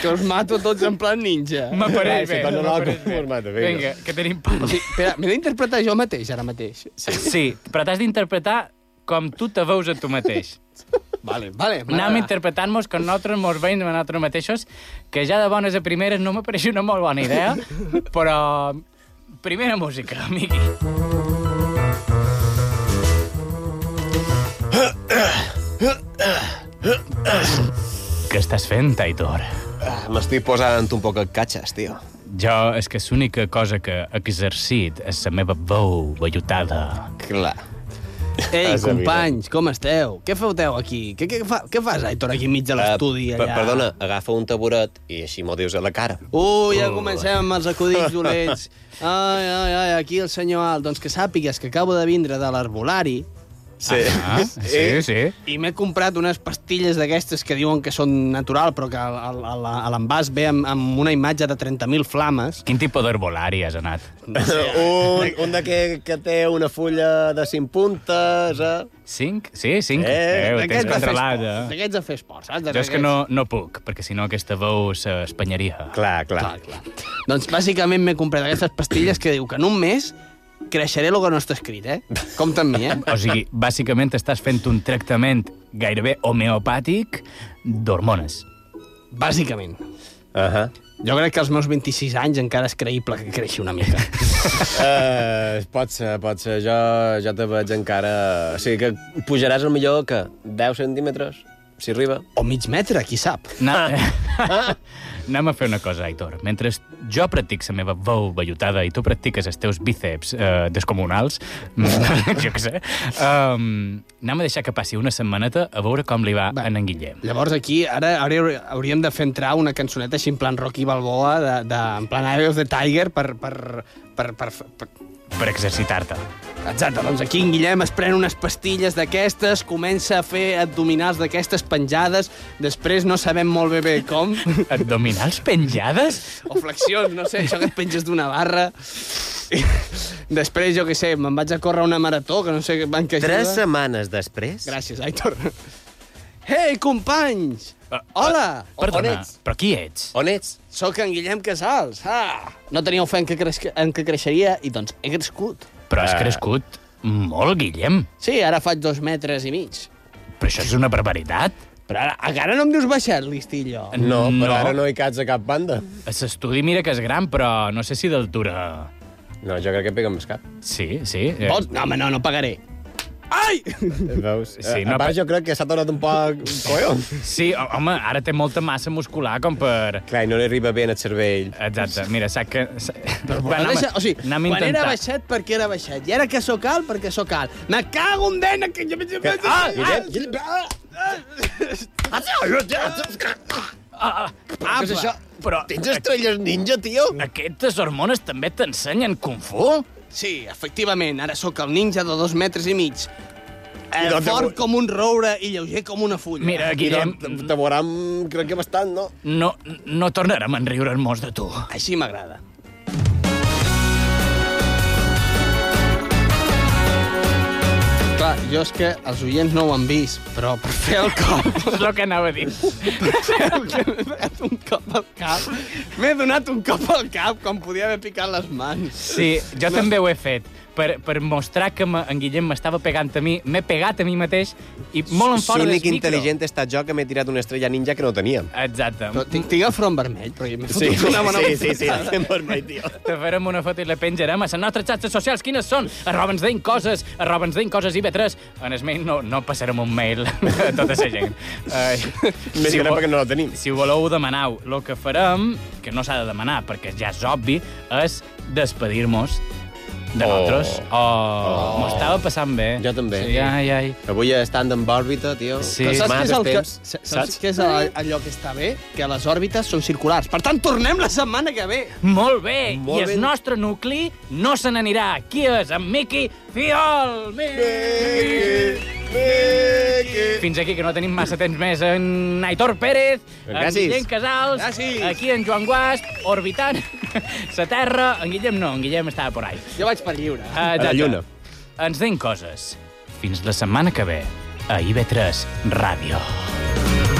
Speaker 5: Que us mato tots en plan ninja.
Speaker 4: M'apareix
Speaker 6: Sí,
Speaker 4: bé.
Speaker 6: quan no
Speaker 4: m'apareix
Speaker 6: l'ha conformat,
Speaker 4: bé.
Speaker 6: vinga.
Speaker 4: Vinga, que tenim pau.
Speaker 5: Sí, espera, m'he d'interpretar jo mateix ara mateix.
Speaker 4: Sí, sí però t'has d'interpretar com tu te veus a tu mateix.
Speaker 5: Vale, vale.
Speaker 4: Anem interpretant-nos com nosaltres mos veiem a nosaltres mateixos, que ja de bones a primeres no m'apareix una molt bona idea, però... Primera música, amigui. Què estàs fent, Aitor?
Speaker 6: Ah, M'estic posant un poc el catxes, tio.
Speaker 4: Jo, és que és l'única cosa que he exercit és la meva veu vellutada.
Speaker 6: Clar.
Speaker 5: Ei,
Speaker 6: Has
Speaker 5: companys, com esteu? Què feu teu aquí? Què, què, fa, què fas, Aitor, aquí enmig de l'estudi?
Speaker 6: Ah, Eh, Per-
Speaker 5: allà?
Speaker 6: Perdona, agafa un taburet i així m'ho dius a la cara.
Speaker 5: Ui, ja
Speaker 6: Oh.
Speaker 5: comencem amb els acudits dolents. Ai, ai, ai, aquí el senyor Alt. Doncs que sàpigues que acabo de vindre de l'arbolari.
Speaker 6: Sí. Ah, sí, sí.
Speaker 5: I m'he comprat unes pastilles d'aquestes que diuen que són natural, però que a, a, a, a l'envàs ve amb, amb una imatge de 30.000 flames.
Speaker 4: Quin tipus d'herbolari has anat?
Speaker 6: un, un de que, que té una fulla de cinc puntes, eh?
Speaker 4: Cinc? Sí, cinc. Eh, ho tens
Speaker 5: d'aquests de fer
Speaker 4: controlat,
Speaker 5: esport,
Speaker 4: eh?
Speaker 5: D'aquests de fer esport, saps?
Speaker 4: Jo és que no, no puc, perquè si no aquesta veu s'espanyaria.
Speaker 6: Clar, clar.
Speaker 5: clar. Doncs bàsicament m'he comprat aquestes pastilles que diu que en un mes creixeré el que no està escrit, eh? Compta amb mi, eh?
Speaker 4: O sigui, bàsicament estàs fent un tractament gairebé homeopàtic d'hormones.
Speaker 5: Bàsicament.
Speaker 6: Uh -huh.
Speaker 5: Jo crec que als meus 26 anys encara és creïble que creixi una mica.
Speaker 6: Uh, pot ser, pot ser. Jo, jo te veig encara... O sigui que pujaràs al millor que 10 centímetres, si arriba.
Speaker 5: O mig metre, qui sap.
Speaker 4: Na... Anem a fer una cosa, Aitor. Mentre jo practic la meva veu vellutada i tu practiques els teus bíceps eh, descomunals, jo què sé, um, anem a deixar que passi una setmaneta a veure com li va, va. en en Guillem.
Speaker 5: Llavors aquí ara hauré- hauríem de fer entrar una cançoneta així en plan Rocky Balboa, de, de, en plan Eye of the Tiger, per... per, per, per, per...
Speaker 4: Per exercitar-te.
Speaker 5: Exacte, doncs aquí en Guillem es pren unes pastilles d'aquestes, comença a fer abdominals d'aquestes penjades, després no sabem molt bé bé com,
Speaker 4: Abdominals penjades?
Speaker 5: o flexions, no sé, això que et penges d'una barra. Després, jo què sé, me'n vaig a córrer una marató, que no sé en què ajuda.
Speaker 6: Tres setmanes després...
Speaker 5: Gràcies, Aitor. Ei, companys! Hola!
Speaker 6: perdona,
Speaker 4: però qui ets?
Speaker 6: On ets?
Speaker 5: Sóc en Guillem Casals. Ah! No tenia fe en que, cresc- en que creixeria i, doncs, he crescut.
Speaker 4: Però has crescut molt, Guillem.
Speaker 5: Sí, ara faig dos metres i mig.
Speaker 4: Però això és una barbaritat.
Speaker 5: Però ara, encara no em dius baixar listillo.
Speaker 6: No, però
Speaker 4: Mm, No.
Speaker 6: ara no hi cats a cap banda.
Speaker 4: A l'estudi mira que és gran, però no sé si d'altura...
Speaker 6: No, jo crec que pega més cap.
Speaker 4: Sí, sí. eh,
Speaker 5: Vols? No, home, no, no pagaré. Ai!
Speaker 6: Veus?
Speaker 4: Sí,
Speaker 6: Sí,
Speaker 4: no,
Speaker 6: no, a part,
Speaker 4: però-
Speaker 6: jo crec que s'ha tornat un poc... Collons.
Speaker 4: Sí, ho- home, ara té molta massa muscular com per...
Speaker 6: Clar, i no li arriba bé en el cervell.
Speaker 4: Exacte, mira, sap que... sa-
Speaker 5: Però
Speaker 4: Va,
Speaker 5: bueno,
Speaker 4: anem a-
Speaker 5: deixa, o sigui,
Speaker 4: anem a
Speaker 5: quan era
Speaker 4: intentar.
Speaker 5: baixet, perquè era baixet. I ara que sóc alt, perquè sóc alt. Me cago en dena, que jo...
Speaker 6: Que- Ah, Guillem, Guillem.
Speaker 4: Ah,
Speaker 5: Però què és això?
Speaker 4: Però...
Speaker 5: Tens estrelles ninja, tio?
Speaker 4: Aquestes hormones també t'ensenyen Kung Fu?
Speaker 5: Sí, efectivament, ara sóc el ninja de dos metres i mig. Eh,
Speaker 6: I no te
Speaker 5: fort
Speaker 6: vull-
Speaker 5: com un roure i lleuger com una fulla.
Speaker 4: Mira, Guillem,
Speaker 6: No, te veuran, crec que bastant, no?
Speaker 4: no, no tornarem a enriure'n molts de tu.
Speaker 5: Així m'agrada. Clar, jo és que els oients no ho han vist, però per fer el cop...
Speaker 4: és el que anava a dir.
Speaker 5: M'he donat un cop al cap. M'he donat un cop al cap quan podia haver picat les mans.
Speaker 4: Sí, jo també ho he fet. Per, per mostrar que me, en Guillem m'estava pegant a mi, m'he pegat a mi mateix i molt en fora del
Speaker 6: L'únic
Speaker 4: micro.
Speaker 6: intel·ligent he estat jo que m'he tirat una estrella ninja que no teníem.
Speaker 4: Exacte.
Speaker 5: Però tinc, tinc el front vermell, perquè m'he fotut una bona
Speaker 6: sí, sí, sí,
Speaker 5: bufetada.
Speaker 6: sí, vermell, tio.
Speaker 4: Te farem una foto i la penjarem a les nostres xarxes socials. Quines són? Arroba ens deim coses, arroba ens deim coses i vetres. En el mail no, no passarem un mail a tota la gent. Ai.
Speaker 6: Més que
Speaker 4: vol-
Speaker 6: res perquè no la tenim.
Speaker 4: Si ho voleu, ho demanau. El que farem, que no s'ha de demanar perquè ja és obvi, és despedir-nos de nosaltres. Oh, oh. m'ho estava passant bé.
Speaker 6: Jo també.
Speaker 4: Sí, ai, ai.
Speaker 6: Avui estant en òrbita, tio.
Speaker 4: Sí.
Speaker 5: Però saps
Speaker 6: Mare
Speaker 5: què és, el
Speaker 6: dels
Speaker 5: que,
Speaker 6: temps.
Speaker 5: sa- saps què és el- allò que està bé? Que les òrbites són circulars. Per tant, tornem la setmana que ve.
Speaker 4: Molt bé,
Speaker 5: Molt
Speaker 4: i el
Speaker 5: ben.
Speaker 4: nostre nucli no se n'anirà. Qui és? En Miqui Fiol! Miqui! Fins aquí, que no tenim massa temps més. En Aitor Pérez,
Speaker 6: Gràcies.
Speaker 4: en Guillem Casals,
Speaker 5: Gràcies.
Speaker 4: aquí en Joan Guasp, orbitant la Terra. En Guillem no, en Guillem estava por ahí.
Speaker 5: Jo vaig per lliure.
Speaker 4: Ah,
Speaker 6: A la
Speaker 4: exacte.
Speaker 6: lluna.
Speaker 4: Ens deim coses. Fins la setmana que ve a IB3 Ràdio.